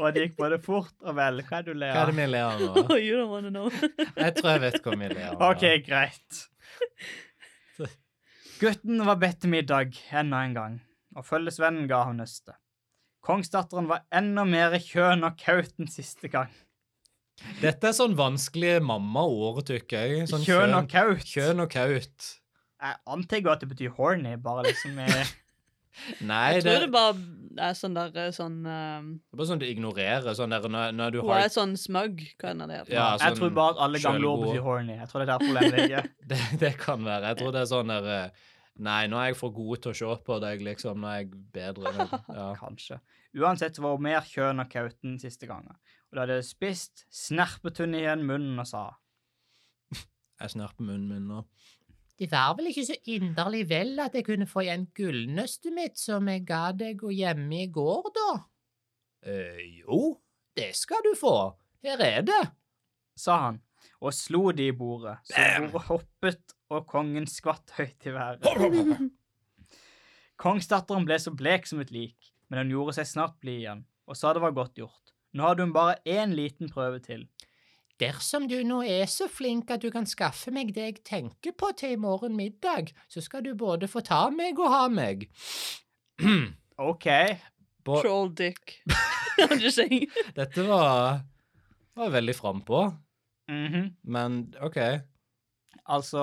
Speaker 4: Og det gikk både fort og vel. Hva er det du ler
Speaker 3: Hva er
Speaker 4: av?
Speaker 3: det vi ler av nå?
Speaker 2: Oh, you don't wanna know.
Speaker 3: Jeg tror jeg vet hva vi ler av. nå.
Speaker 4: OK, greit. Gutten var bedt til middag enda en gang, og følgesvennen ga ham nøstet. Kongsdatteren var enda mer kjønn og kaut enn siste gang.
Speaker 3: Dette er sånn vanskelige mamma-ord, tykker jeg. Sånn
Speaker 4: kjønn og kaut.
Speaker 3: kjønn og kaut.
Speaker 4: Jeg antar jo at det betyr horny, bare liksom i
Speaker 3: Nei,
Speaker 2: Jeg
Speaker 3: det,
Speaker 2: tror det bare er sånn der eh, sånn um,
Speaker 3: det er bare sånn du ignorerer sånn der når, når du
Speaker 2: Hun
Speaker 3: har
Speaker 2: er sånn smug, hva enn det heter.
Speaker 3: Ja,
Speaker 4: Jeg
Speaker 3: sånn
Speaker 4: tror bare at alle gamle ord
Speaker 3: sjølgod.
Speaker 4: betyr horny. Jeg tror det er der problemet ligger.
Speaker 3: det, det kan være. Jeg tror det er sånn der eh, Nei, nå er jeg for god til å se på deg, liksom. Nå er jeg bedre. Ja.
Speaker 4: Kanskje. Uansett så var hun mer kjønn og kaut enn siste gangen. Og da hadde jeg spist, snerpet hun igjen munnen og sa
Speaker 3: Jeg snerper munnen min nå.
Speaker 1: Det var vel ikke så inderlig vel at jeg kunne få igjen gullnøstet mitt som jeg ga deg å gjemme i går, da?
Speaker 3: Eh, jo, det skal du få. Her er det.
Speaker 4: sa han, og slo de i bordet. Så bordet hoppet, og kongen skvatt høyt i været. Kongsdatteren ble så blek som et lik, men hun gjorde seg snart blid igjen, og sa det var godt gjort. Nå hadde hun bare én liten prøve til.
Speaker 1: Dersom du nå er så flink at du kan skaffe meg det jeg tenker på til i morgen middag, så skal du både få ta meg og ha meg.
Speaker 4: OK.
Speaker 3: På,
Speaker 2: Troll dick. I'm just saying.
Speaker 3: dette var, var veldig frampå,
Speaker 4: mhm.
Speaker 3: men OK. Det
Speaker 4: Altså,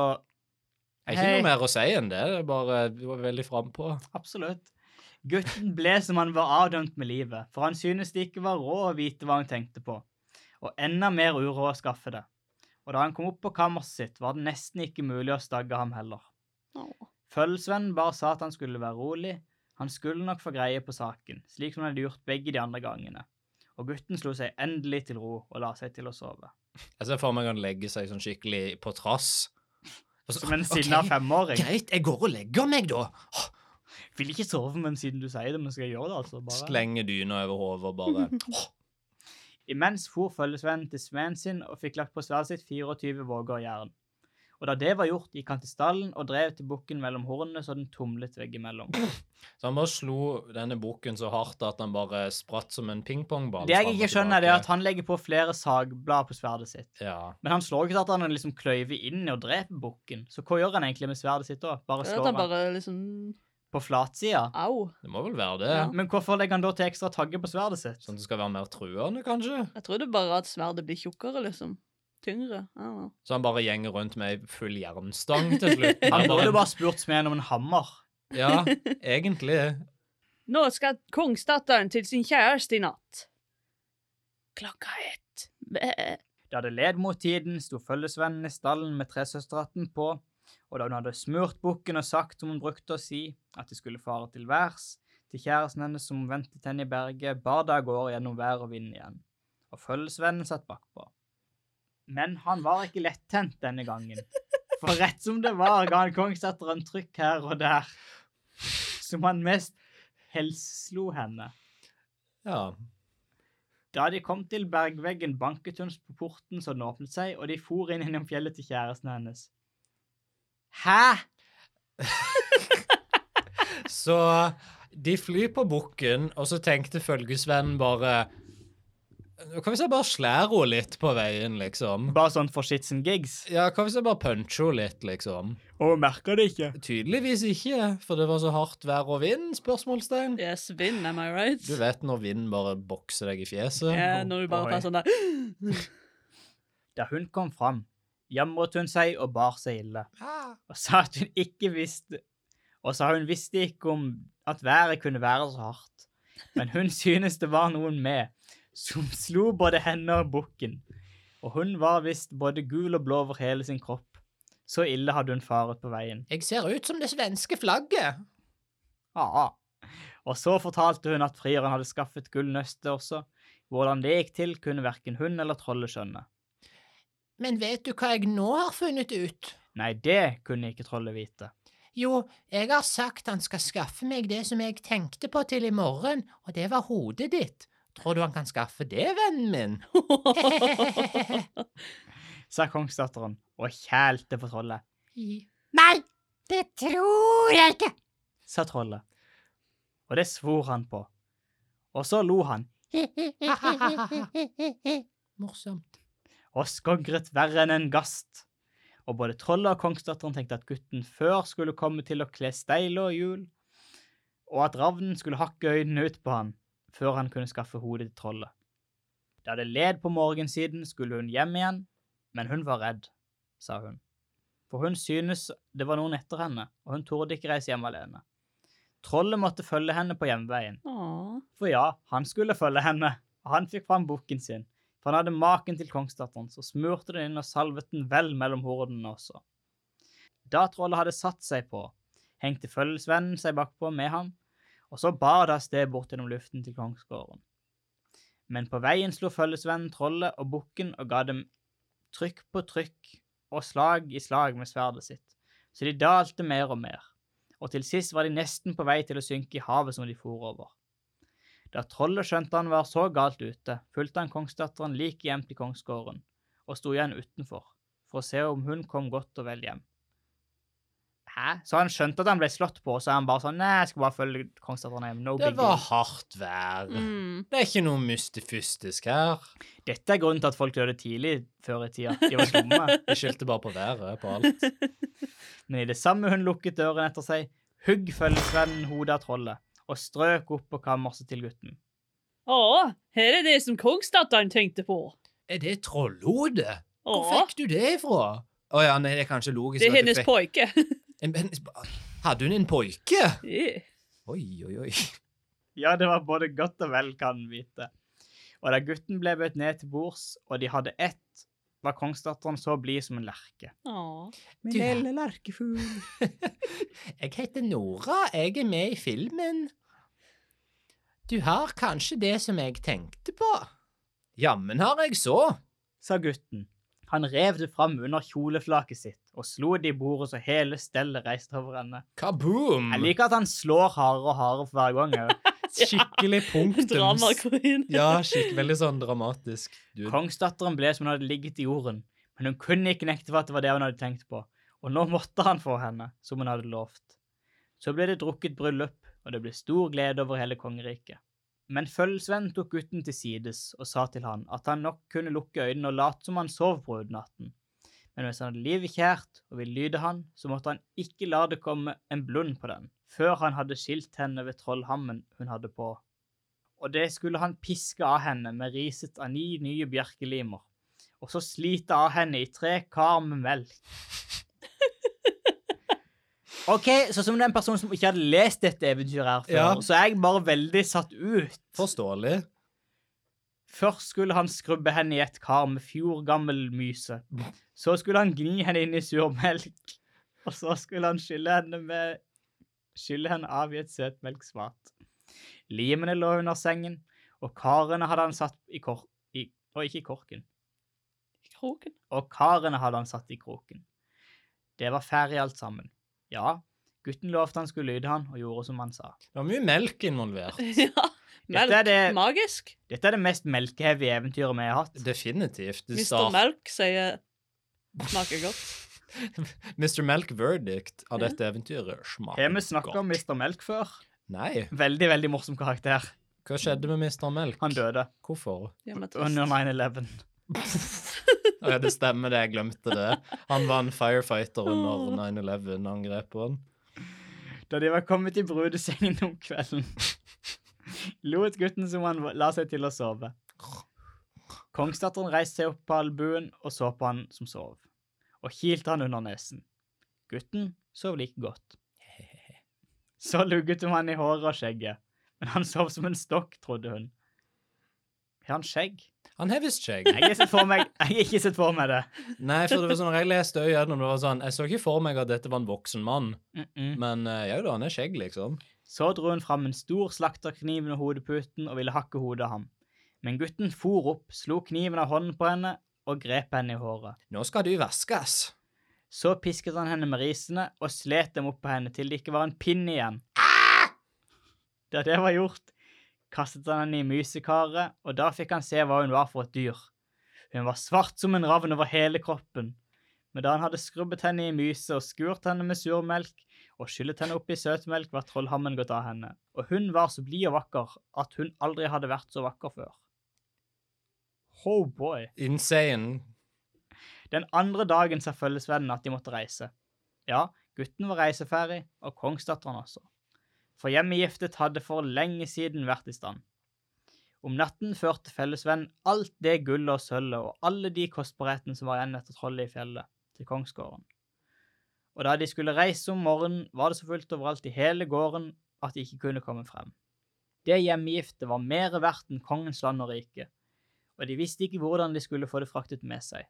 Speaker 3: er ikke
Speaker 4: Hei.
Speaker 3: noe mer å si enn det. Det er bare du var veldig frampå.
Speaker 4: Absolutt. Gutten ble som han var avdømt med livet, for han syntes det ikke var råd å vite hva han tenkte på, og enda mer uråd å skaffe det. Og da han kom opp på kammerset sitt, var det nesten ikke mulig å stagge ham heller.
Speaker 2: Åh.
Speaker 4: Følgesvennen bare sa at han skulle være rolig, han skulle nok få greie på saken, slik som han hadde gjort begge de andre gangene. Og gutten slo seg endelig til ro og la seg til å sove.
Speaker 3: Jeg ser for meg han legger seg sånn skikkelig på trass. Og så-
Speaker 4: Som en
Speaker 3: «Ok,
Speaker 4: sinna femåring.
Speaker 3: Greit, jeg går og legger meg, da.
Speaker 4: Vil ikke sove, men siden du sier det, men skal jeg gjøre det, altså. Bare.
Speaker 3: Slenger dyna over hodet og bare
Speaker 4: Imens for følgesvennen til Sveen sin og fikk lagt på sverdet sitt 24 våger jern. Og da det var gjort, gikk han til stallen og drev til bukken mellom hornene så den tumlet veggimellom.
Speaker 3: Så han bare slo denne boken så hardt at han bare spratt som en pingpongball.
Speaker 4: Det jeg
Speaker 3: fram og
Speaker 4: ikke skjønner, det er
Speaker 3: tilbake.
Speaker 4: at han legger på flere sagblad på sverdet sitt.
Speaker 3: ja.
Speaker 4: Men han slår jo ikke til at han liksom kløyver inn i og dreper bukken. Så hva gjør han egentlig med sverdet sitt da? Bare
Speaker 2: At
Speaker 4: slår
Speaker 2: han
Speaker 4: han
Speaker 2: bare liksom
Speaker 4: på flatsida?
Speaker 2: Au.
Speaker 3: Det må vel være det.
Speaker 2: Ja.
Speaker 4: Men hvorfor legger han da til ekstra tagger på sverdet sitt?
Speaker 3: Sånn at det skal være mer truende, kanskje?
Speaker 2: Jeg trodde bare at sverdet blir tjukkere, liksom. Tyngre. I don't know.
Speaker 3: Så han bare gjenger rundt med ei full jernstang til slutt.
Speaker 4: Han burde jo bare spurt smeden om en hammer.
Speaker 3: Ja, egentlig.
Speaker 2: Nå skal kongsdatteren til sin kjæreste i natt. Klokka ett. Bæ.
Speaker 4: Da det led mot tiden, sto følgesvennen i stallen med tresøsterhatten på, og da hun hadde smurt bukken og sagt som hun brukte å si, at de skulle fare til værs, til kjæresten hennes som ventet henne i berget, bar det av gårde gjennom vær og vind igjen, og følgesvennen satt bakpå. Men han var ikke lettent denne gangen, for rett som det var ga han kongsdatteren trykk her og der, som han mest helslo henne.
Speaker 3: Ja.
Speaker 4: Da de kom til bergveggen, banket hun på porten så den åpnet seg, og de for inn gjennom fjellet til kjæresten hennes. Hæ?
Speaker 3: Så de flyr på bukken, og så tenkte følgesvennen bare Hva hvis jeg bare slår henne litt på veien, liksom?
Speaker 4: Bare sånn for shits and gigs.
Speaker 3: Ja, hva hvis jeg bare puncher henne litt, liksom?
Speaker 4: Og hun merker det ikke.
Speaker 3: Tydeligvis ikke, for det var så hardt vær og vind? Spørsmålstegn.
Speaker 2: Yes, vind, am I right?
Speaker 3: Du vet når vinden bare bokser deg i fjeset?
Speaker 2: Ja, når du bare
Speaker 4: Oi.
Speaker 2: får sånn der
Speaker 4: Da hun kom fram, jamret hun seg og bar seg ille, og sa at hun ikke visste og sa hun visste ikke om at været kunne være så hardt. Men hun synes det var noen med, som slo både henne og bukken. Og hun var visst både gul og blå over hele sin kropp. Så ille hadde hun faret på veien.
Speaker 1: Jeg ser ut som det svenske flagget.
Speaker 4: Ja. Og så fortalte hun at frieren hadde skaffet gullnøstet også. Hvordan det gikk til, kunne verken hun eller trollet skjønne.
Speaker 1: Men vet du hva jeg nå har funnet ut?
Speaker 4: Nei, det kunne ikke trollet vite.
Speaker 1: Jo, jeg har sagt han skal skaffe meg det som jeg tenkte på til i morgen, og det var hodet ditt. Tror du han kan skaffe det, vennen min?
Speaker 4: Sa kongsdatteren og kjælte på trollet.
Speaker 6: Nei, det tror jeg ikke.
Speaker 4: Sa trollet. Og det svor han på. Og så lo han
Speaker 1: Morsomt.
Speaker 4: og skogret verre enn en gast. Og både trollet og kongsdatteren tenkte at gutten før skulle komme til å kle steile og hjul, og at ravnen skulle hakke øynene ut på han før han kunne skaffe hodet til trollet. Da det led på morgensiden, skulle hun hjem igjen, men hun var redd, sa hun. For hun synes det var noen etter henne, og hun torde ikke reise hjem alene. Trollet måtte følge henne på hjemveien.
Speaker 2: Åh.
Speaker 4: For ja, han skulle følge henne, og han fikk fram bukken sin. For han hadde maken til kongsdatteren, så smurte den inn og salvet den vel mellom hordene også. Da trollet hadde satt seg på, hengte følgesvennen seg bakpå med ham, og så bar det av sted bort gjennom luften til kongsgården. Men på veien slo følgesvennen trollet og bukken og ga dem trykk på trykk og slag i slag med sverdet sitt, så de dalte mer og mer, og til sist var de nesten på vei til å synke i havet som de for over. Da trollet skjønte han var så galt ute, fulgte han kongsdatteren like hjem til kongsgården, og sto igjen utenfor, for å se om hun kom godt og vel hjem. Hæ? Så han skjønte at han ble slått på, og så er han bare sånn Nei, jeg skal bare følge kongsdatteren hjem. No
Speaker 3: Det
Speaker 4: big
Speaker 3: var
Speaker 4: deal.
Speaker 3: hardt vær.
Speaker 2: Mm.
Speaker 3: Det er ikke noe mystifystisk her.
Speaker 4: Dette er grunnen til at folk døde tidlig før i tida. De var dumme.
Speaker 3: Jeg skyldte bare på været, på alt.
Speaker 4: Men i det samme hun lukket døren etter seg, hugg følgesvennen hodet av trollet, og strøk opp på kammerset til gutten.
Speaker 2: Åh, her er det som kongsdatteren tenkte på.
Speaker 3: Er det trollhode? Hvor
Speaker 2: Åh,
Speaker 3: fikk du det ifra? Å ja, nei, det er kanskje logisk. at
Speaker 2: det er
Speaker 3: du
Speaker 2: hennes
Speaker 3: fikk-
Speaker 2: pojke.
Speaker 3: En- en- Hadde hun en poike?
Speaker 2: Eh,
Speaker 3: Oi, oi, oi.
Speaker 4: Ja, det var både godt og vel, kan den vite. Og da gutten ble bøtt ned til bords, og de hadde ett, var kongsdatteren så blid som en lerke.
Speaker 2: Åh.
Speaker 1: Min lille lerkefugl. jeg heter Nora, jeg er med i filmen. Du har kanskje det som jeg tenkte på?
Speaker 3: Jammen har jeg så.
Speaker 4: Sa gutten. Han rev det fram under kjoleflaket sitt, og slo det i bordet så hele stellet reiste over ende.
Speaker 3: Kaboom!
Speaker 4: Jeg liker at han slår hardere og hardere for hver gang. jeg.
Speaker 3: Skikkelig
Speaker 2: Drama
Speaker 3: punktums.
Speaker 2: queen.
Speaker 3: Ja, skikkelig veldig sånn dramatisk. Du,
Speaker 4: Kongsdatteren ble som hun hadde ligget i jorden, men hun kunne ikke nekte for at det var det hun hadde tenkt på, og nå måtte han få henne, som hun hadde lovt. Så ble det drukket bryllup, og det ble stor glede over hele kongeriket. Men følgesvennen tok gutten til sides og sa til han at han nok kunne lukke øynene og late som han sov på natten. Men hvis han hadde livet kjært og ville lyde han, så måtte han ikke la det komme en blund på den, før han hadde skilt henne ved trollhammen hun hadde på og det skulle han piske av henne med riset av ni nye bjerkelimer, og så slite av henne i tre kar med melk. OK, så som den personen som ikke hadde lest dette eventyret her før,
Speaker 3: Ja.
Speaker 4: så er jeg bare veldig satt ut.
Speaker 3: forståelig.
Speaker 4: Først skulle han skrubbe henne i et kar med fjordgammel myse. Så skulle han gni henne inn i sur melk. Og så skulle han skylle henne med Skylle henne av i et søtmelksvat. Limene lå under sengen, og karene hadde han satt i kor... I, og ikke i korken.
Speaker 2: Kroken.
Speaker 4: Og karene hadde han satt i kroken. Det var ferdig alt sammen. Ja, gutten lovte han skulle lyde han, og gjorde som han sa.
Speaker 3: Det var mye melk involvert.
Speaker 2: Ja. Melk.
Speaker 4: Dette er det-
Speaker 2: Magisk.
Speaker 4: Dette er det mest melkehevige eventyret vi har hatt.
Speaker 3: Definitivt. Det
Speaker 2: Mr.
Speaker 3: start-
Speaker 2: Melk sier smaker godt.
Speaker 3: Mr. Melk Verdict av dette eventyret smaker
Speaker 4: Har vi snakka om Mr. Melk før?
Speaker 3: Nei.
Speaker 4: Veldig, veldig morsom karakter.
Speaker 3: Hva skjedde med Mr. Melk?
Speaker 4: Han døde
Speaker 3: Hvorfor?
Speaker 2: Ja, men trist.
Speaker 4: under 9-11.
Speaker 3: Å ja, det stemmer det, jeg glemte det. Han var en firefighter under 9-11-angrepet. han.
Speaker 4: Da de var kommet i brudesengen om kvelden, lot gutten som han var- la seg til å sove. Kongsdatteren reiste seg opp på albuen og så på han som sov, og kilte han under nesen. Gutten sov like godt. Så lugget hun han i håret og skjegget. Men han sov som en stokk, trodde hun. Har han skjegg?
Speaker 3: Han har visst skjegg.
Speaker 4: Jeg har ikke sett for meg, jeg har ikke sett for meg det.
Speaker 3: Nei, for det var sånn, når jeg leste også gjennom, det var sånn, jeg så ikke for meg at dette var en voksen mann,
Speaker 4: Mm-mm.
Speaker 3: men eh, ja da, han er skjegg, liksom.
Speaker 4: Så dro hun fram en stor slakterkniv under hodeputen og ville hakke hodet av ham. Men gutten for opp, slo kniven av hånden på henne og grep henne i håret.
Speaker 3: Nå skal du vaskes.
Speaker 4: Så pisket han henne med risene og slet dem opp på henne til det ikke var en pinn igjen. Da det var gjort, kastet han henne i mysekaret, og da fikk han se hva hun var for et dyr. Hun var svart som en ravn over hele kroppen. Men da han hadde skrubbet henne i myse og skurt henne med surmelk og skyllet henne opp i søtmelk, var trollhammen gått av henne, og hun var så blid og vakker at hun aldri hadde vært så vakker før. Oh boy.
Speaker 3: Insane.
Speaker 4: Den andre dagen sa følgesvennen at de måtte reise. Ja, gutten var reiseferdig, og kongsdatteren også. For hjemmet giftet hadde for lenge siden vært i stand. Om natten førte fellesvennen alt det gullet og sølvet og alle de kostbarhetene som var igjen etter trollet i fjellet, til kongsgården. Og da de skulle reise om morgenen, var det så fullt overalt i hele gården at de ikke kunne komme frem. Det hjemmegifte var mer verdt enn kongens land og rike, og de visste ikke hvordan de skulle få det fraktet med seg.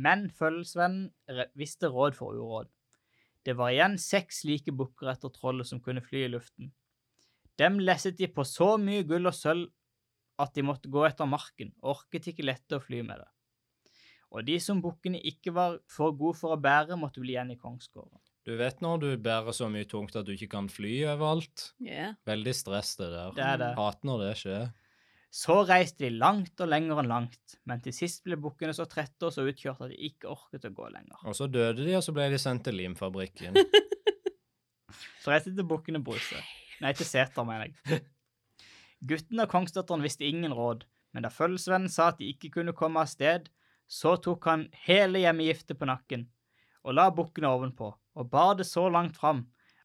Speaker 4: Men følgesvennen re- visste råd for uråd. Det var igjen seks like bukker etter trollet som kunne fly i luften. Dem lesset de på så mye gull og sølv at de måtte gå etter marken, orket ikke lette å fly med det. Og de som bukkene ikke var for gode for å bære, måtte bli igjen i kongsgården.
Speaker 3: Du vet når du bærer så mye tungt at du ikke kan fly overalt.
Speaker 2: Yeah.
Speaker 3: Veldig stress det der.
Speaker 4: Det er det.
Speaker 3: Hater når det skjer.
Speaker 4: Så reiste de langt og lenger enn langt, men til sist ble bukkene så trette og så utkjørte at de ikke orket å gå lenger.
Speaker 3: Og så døde de, og så ble de sendt til limfabrikken.
Speaker 4: Så reiste de til Bukkene Bruse. Nei, til Seter, mener jeg. Gutten og kongsdatteren visste ingen råd, men da følgesvennen sa at de ikke kunne komme av sted, så tok han hele hjemmegiftet på nakken og la bukkene ovenpå, og bar det så langt fram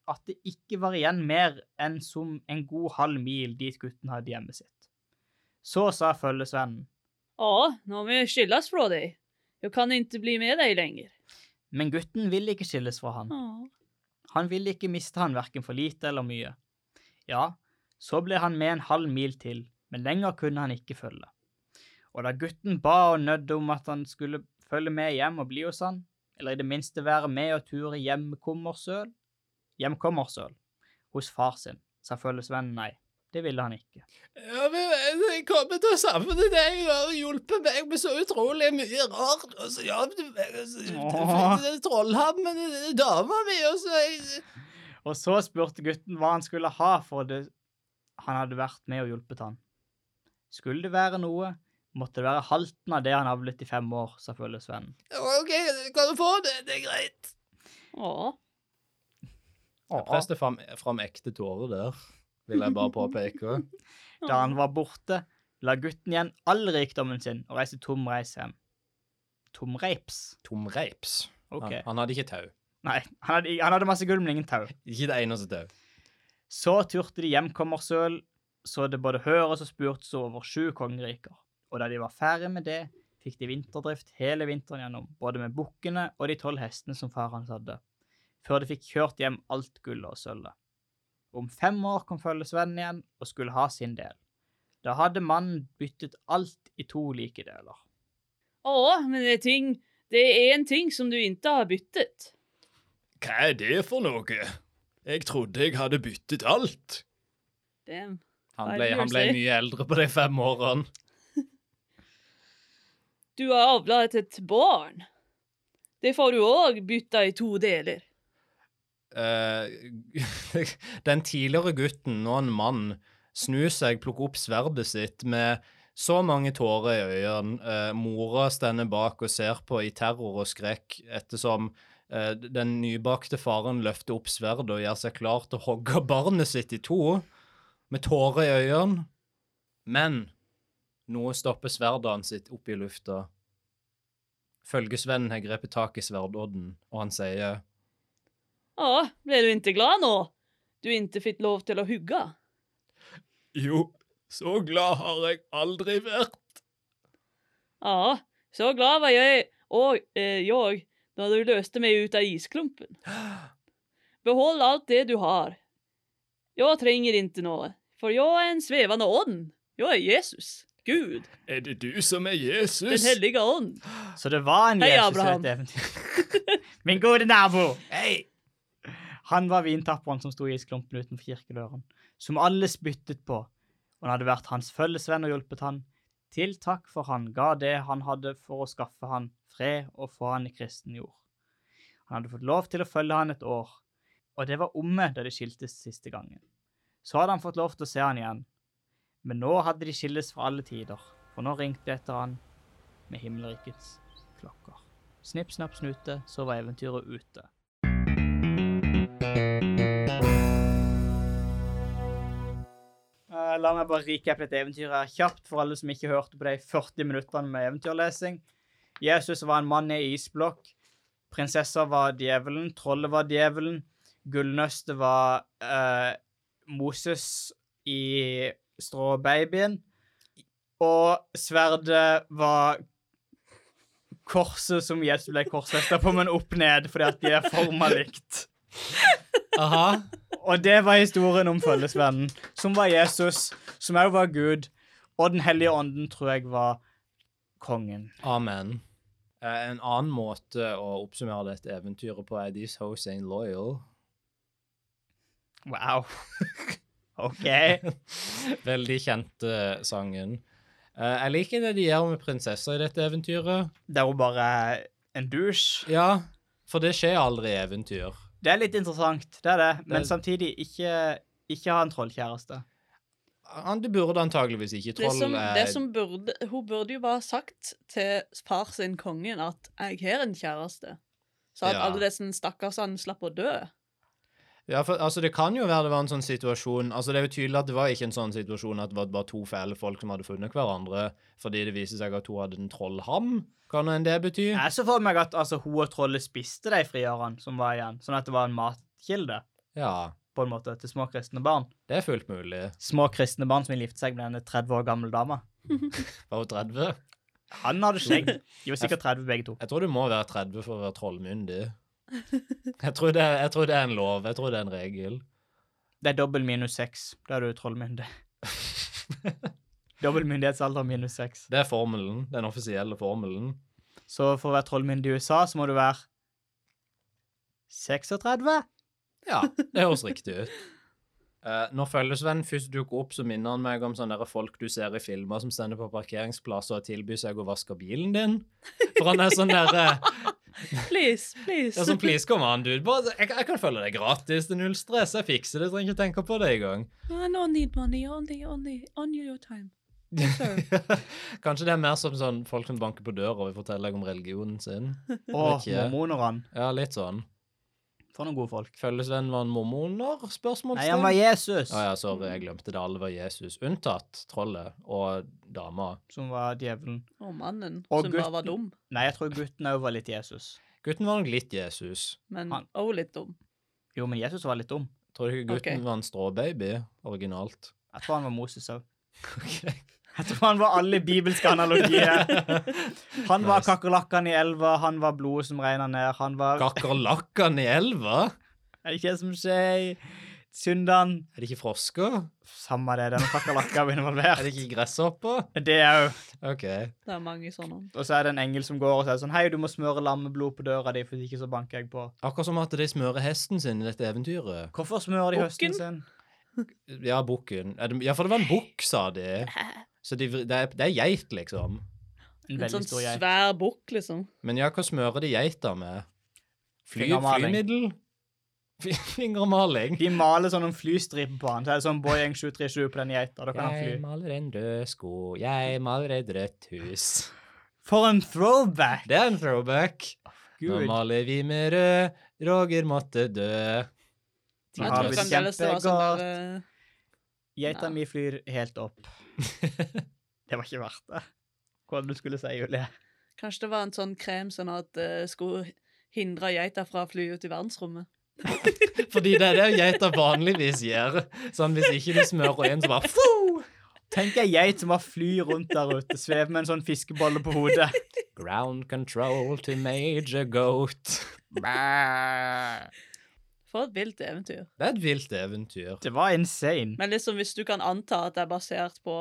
Speaker 4: at det ikke var igjen mer enn som en god halv mil dit gutten hadde hjemmet sitt. Så sa følgesvennen,
Speaker 2: Ja, nu har vi skillas från dig. Jag kan inte bli med dig längre.
Speaker 4: men gutten ville ikke skilles fra han.
Speaker 2: Ja.
Speaker 4: Han ville ikke miste han verken for lite eller mye. Ja, så ble han med en halv mil til, men lenger kunne han ikke følge. Og da gutten ba og nødde om at han skulle følge med hjem og bli hos han, eller i det minste være med og ture hjemkommersøl, hjemkommersøl, hos far sin, sa følgesvennen nei, det ville han ikke.
Speaker 3: Ja, men jeg kommer til å savne deg, du har hjulpet meg med så utrolig mye rart. Altså, Og så hjalp du meg, og
Speaker 4: Åh.
Speaker 3: så trollhammen, dama mi, og så
Speaker 4: Og så spurte gutten hva han skulle ha for det han hadde vært med og hjulpet han. Skulle det være noe, måtte det være halten av det han avlet i fem år, sa følgesvennen.
Speaker 3: OK, kan du få det? Det er greit.
Speaker 2: Ja.
Speaker 3: Jeg preste fram, fram ekte tårer der, vil jeg bare påpeke.
Speaker 4: Da han var borte, la gutten igjen all rikdommen sin og reiste tomreis hjem. Tomreips?
Speaker 3: Tomreips.
Speaker 4: OK.
Speaker 3: Han, han hadde ikke tau.
Speaker 4: Nei, han hadde, han hadde masse gull, men ingen tau.
Speaker 3: Ikke det eneste tau.
Speaker 4: Så turte de hjemkommersøl, så det både høres og spurtes over sju kongeriker. Og da de var ferdig med det, fikk de vinterdrift hele vinteren gjennom, både med bukkene og de tolv hestene som far hans hadde, før de fikk kjørt hjem alt gullet og sølvet. Om fem år kom følgesvennen igjen og skulle ha sin del. Da hadde mannen byttet alt i to like deler.
Speaker 2: Ja, men det är, ting, det är en ting som du inte har byttet.
Speaker 3: Hva er det for noe? Jeg trodde jeg hadde byttet alt.
Speaker 2: Damn.
Speaker 3: Han
Speaker 2: Hva er
Speaker 3: ble,
Speaker 2: det du
Speaker 3: han ble
Speaker 2: sier?
Speaker 3: mye eldre på de fem årene.
Speaker 2: Du har avlat ett barn. Det får du òg bytta i to deler.
Speaker 3: Eh, den tidligere gutten, nå en mann, snur seg, plukker opp sverdet sitt med så mange tårer i øynene. Eh, mora stender bak og ser på i terror og skrekk ettersom eh, den nybakte faren løfter opp sverdet og gjør seg klar til å hogge barnet sitt i to, med tårer i øynene. Men noe stopper sverdet hans sitt opp i lufta. Følgesvennen har grepet tak i sverdodden, og han sier
Speaker 2: Ja, ble du ikke glad nå? Du ikke fikk lov til å hugge?
Speaker 3: Jo, så glad har jeg aldri vært.
Speaker 2: Ja, så glad var jeg og eh, jeg da du løste meg ut av isklumpen. Behold alt det du har. Jag tränger inte något, för jag är en svävande ånd. Jag är Jesus, Gud,
Speaker 3: Er det du som er
Speaker 2: den
Speaker 3: Jesus?
Speaker 2: heliga ånd.
Speaker 4: Så det var en
Speaker 2: Hei,
Speaker 4: Jesus i
Speaker 2: Abraham.
Speaker 4: dette eventyret. Min gode nabo.
Speaker 3: Hei!
Speaker 4: Han var vintapperen som sto i isklumpen utenfor kirkedøren, som alle spyttet på. Og han hadde vært hans følgesvenn og hjulpet han. Til takk for han ga det han hadde for å skaffe han fred og få han i kristen jord. Han hadde fått lov til å følge han et år, og det var omme da de skiltes siste gangen. Så hadde han fått lov til å se han igjen. Men nå hadde de skilles for alle tider, for nå ringte det etter han med himmelrikets klokker. Snipp, snapp, snute, så var eventyret ute. Eh, la meg bare rike opp dette eventyret her kjapt for alle som ikke hørte på de 40 minuttene med eventyrlesing. Jesus var en mann i en isblokk. Prinsessa var djevelen. Trollet var djevelen. Gullnøstet var eh, Moses i stråbabyen. Og sverdet var korset som Jesus ble korsfesta på, men opp ned, fordi at de er forma likt.
Speaker 1: Aha.
Speaker 4: Og det var historien om følgesvennen, som var Jesus, som òg var Gud. Og Den hellige ånden tror jeg var kongen.
Speaker 3: Amen. Eh, En annen måte å oppsummere dette eventyret på er These hoes ain't loyal.
Speaker 4: Wow. OK.
Speaker 3: Veldig kjente sangen. Eh, Jeg liker det de gjør med prinsesser i dette eventyret.
Speaker 4: Det er jo bare en dusj.
Speaker 3: Ja, for det skjer aldri i eventyr.
Speaker 4: Det er litt interessant, det er det, men
Speaker 3: Det-
Speaker 4: samtidig ikke, ikke ha en trollkjæreste.
Speaker 3: Han, det burde antageligvis ikke
Speaker 2: Det
Speaker 3: troll
Speaker 2: som,
Speaker 3: er-
Speaker 4: eh,
Speaker 2: det som burde, hun burde jo bare sagt til far sin kongen at 'jeg har en kjæreste', så at
Speaker 3: Ja.
Speaker 2: alle disse stakkarsene slapp å dø.
Speaker 3: Ja, for altså, Det kan jo være det var en sånn situasjon Altså, Det er jo tydelig at det var ikke en sånn situasjon at det var bare to fæle folk som hadde funnet hverandre, fordi det viser seg at hun hadde en trollham. Kan enn det bety?
Speaker 4: Jeg så for meg at altså, hun og trollet spiste de frigjørerne som var igjen, sånn at det var en matkilde
Speaker 3: Ja.
Speaker 4: på en måte, til små kristne barn.
Speaker 3: Det er fullt mulig.
Speaker 4: Små kristne barn som vil gifte seg med denne 30 år gamle dama.
Speaker 3: Var hun 30?
Speaker 4: Han hadde skjegg. De var sikkert 30 begge to.
Speaker 3: Jeg tror du må være 30 for å være trollmyndig. Jeg tror, det, jeg tror det er en lov. Jeg tror det er en regel.
Speaker 4: Det er dobbel minus seks. Da er du trollmyndig. Dobbel myndighetsalder minus seks.
Speaker 3: Det er formelen. Den offisielle formelen.
Speaker 4: Så for å være trollmyndig i USA, så må du være 36?
Speaker 3: Ja, det høres riktig ut. Eh, når følgesvennen først dukker opp, så minner han meg om sånne der folk du ser i filmer som stender på parkeringsplasser og tilbyr seg å vaske bilen din. For han er sånn derre
Speaker 2: Please, please.
Speaker 3: Sånn, please, kom an, dude. Bare, jeg, jeg kan følge deg gratis. Det er null stress. Jeg fikser det. Jeg trenger ikke tenke på det engang.
Speaker 2: I don't need money, only, only, only your time. Sir.
Speaker 3: Kanskje det er mer som sånn folk som banker på døra og vil fortelle deg om religionen sin.
Speaker 4: Åh,
Speaker 3: Vet ikke.
Speaker 4: mormonerne.
Speaker 3: Ja, litt sånn.
Speaker 4: For noen gode folk.
Speaker 3: Følgesvennen var en mormoner? Spørsmålstegn.
Speaker 4: Nei, han var Jesus,
Speaker 3: Å ja, sorry, jeg glemte det. Alle var Jesus, unntatt trollet og dama.
Speaker 4: som var djevelen.
Speaker 2: Og mannen
Speaker 4: Og
Speaker 2: som bare var
Speaker 4: gutten.
Speaker 2: dum,
Speaker 4: Nei, jeg tror gutten òg var litt Jesus.
Speaker 3: Gutten var nok litt Jesus.
Speaker 2: men
Speaker 4: Han-
Speaker 2: også litt dum.
Speaker 4: Jo, men Jesus var litt dum.
Speaker 3: Tror du ikke gutten
Speaker 2: Ok.
Speaker 3: var en stråbaby originalt?
Speaker 4: Jeg tror han var Moses òg.
Speaker 3: Ok.
Speaker 4: Jeg tror han var alle bibelske analogier. Han var
Speaker 3: Nice.
Speaker 4: kakerlakkene i elva, han var blodet som regna ned, han var
Speaker 3: Kakerlakkene i elva?
Speaker 4: Er det ikke det som skjer? Syndene
Speaker 3: Er det ikke frosker?
Speaker 4: Samme det, denne kakerlakka er
Speaker 3: Er det
Speaker 4: involvert.
Speaker 3: ikke gresshopper?
Speaker 4: Det òg.
Speaker 3: OK.
Speaker 2: Det er mange sånne.
Speaker 4: Og så er det en engel som går og sier sånn Hei, du må smøre lammeblod på døra di, for ikke så banker jeg på.
Speaker 3: Akkurat som at de smører hesten sin i dette eventyret.
Speaker 4: Hvorfor smører de høsten
Speaker 2: Bukken?
Speaker 4: sin?
Speaker 3: Ja, bukken. Er det- Ja, for det var en bukk, sa de. Så de, vri- det, er, det er geit, liksom.
Speaker 4: En
Speaker 2: En
Speaker 4: veldig
Speaker 2: sånn
Speaker 4: stor geit.
Speaker 2: svær bukk, liksom.
Speaker 3: Men ja, hva smører de geita med? Fly,
Speaker 4: Fingermaling.
Speaker 3: flymiddel? Fingermaling.
Speaker 4: De maler sånn en flystripe på han. Så er det sånn Boeing 737 på den geita. Da kan han
Speaker 3: Jeg
Speaker 4: fly.
Speaker 3: maler en rød sko, jeg maler et rødt hus.
Speaker 4: For en throwback!
Speaker 3: Det er en throwback. Nå
Speaker 4: Gud.
Speaker 3: maler vi med rød, Roger måtte dø.
Speaker 2: Jeg
Speaker 4: har
Speaker 2: tror
Speaker 4: blitt
Speaker 2: fremdeles det var
Speaker 4: kjempegodt.
Speaker 2: sånn der eh,
Speaker 4: Geita
Speaker 2: Nei.
Speaker 4: mi flyr helt opp. Det var ikke verdt det. Hva du skulle si, Julie?
Speaker 2: Kanskje det var en sånn krem sånn at uh, skulle hindre geita fra å fly ut i verdensrommet.
Speaker 3: Fordi det er det geiter vanligvis gjør. Sånn hvis ikke de smører inn, så bare foo!
Speaker 4: Tenk ei geit som bare flyr rundt der ute, svever med en sånn fiskebolle på hodet.
Speaker 3: Ground control to major goat.
Speaker 2: For et vilt eventyr.
Speaker 3: Det er et vilt eventyr.
Speaker 4: Det var insane.
Speaker 2: Men liksom hvis du kan anta at det er basert på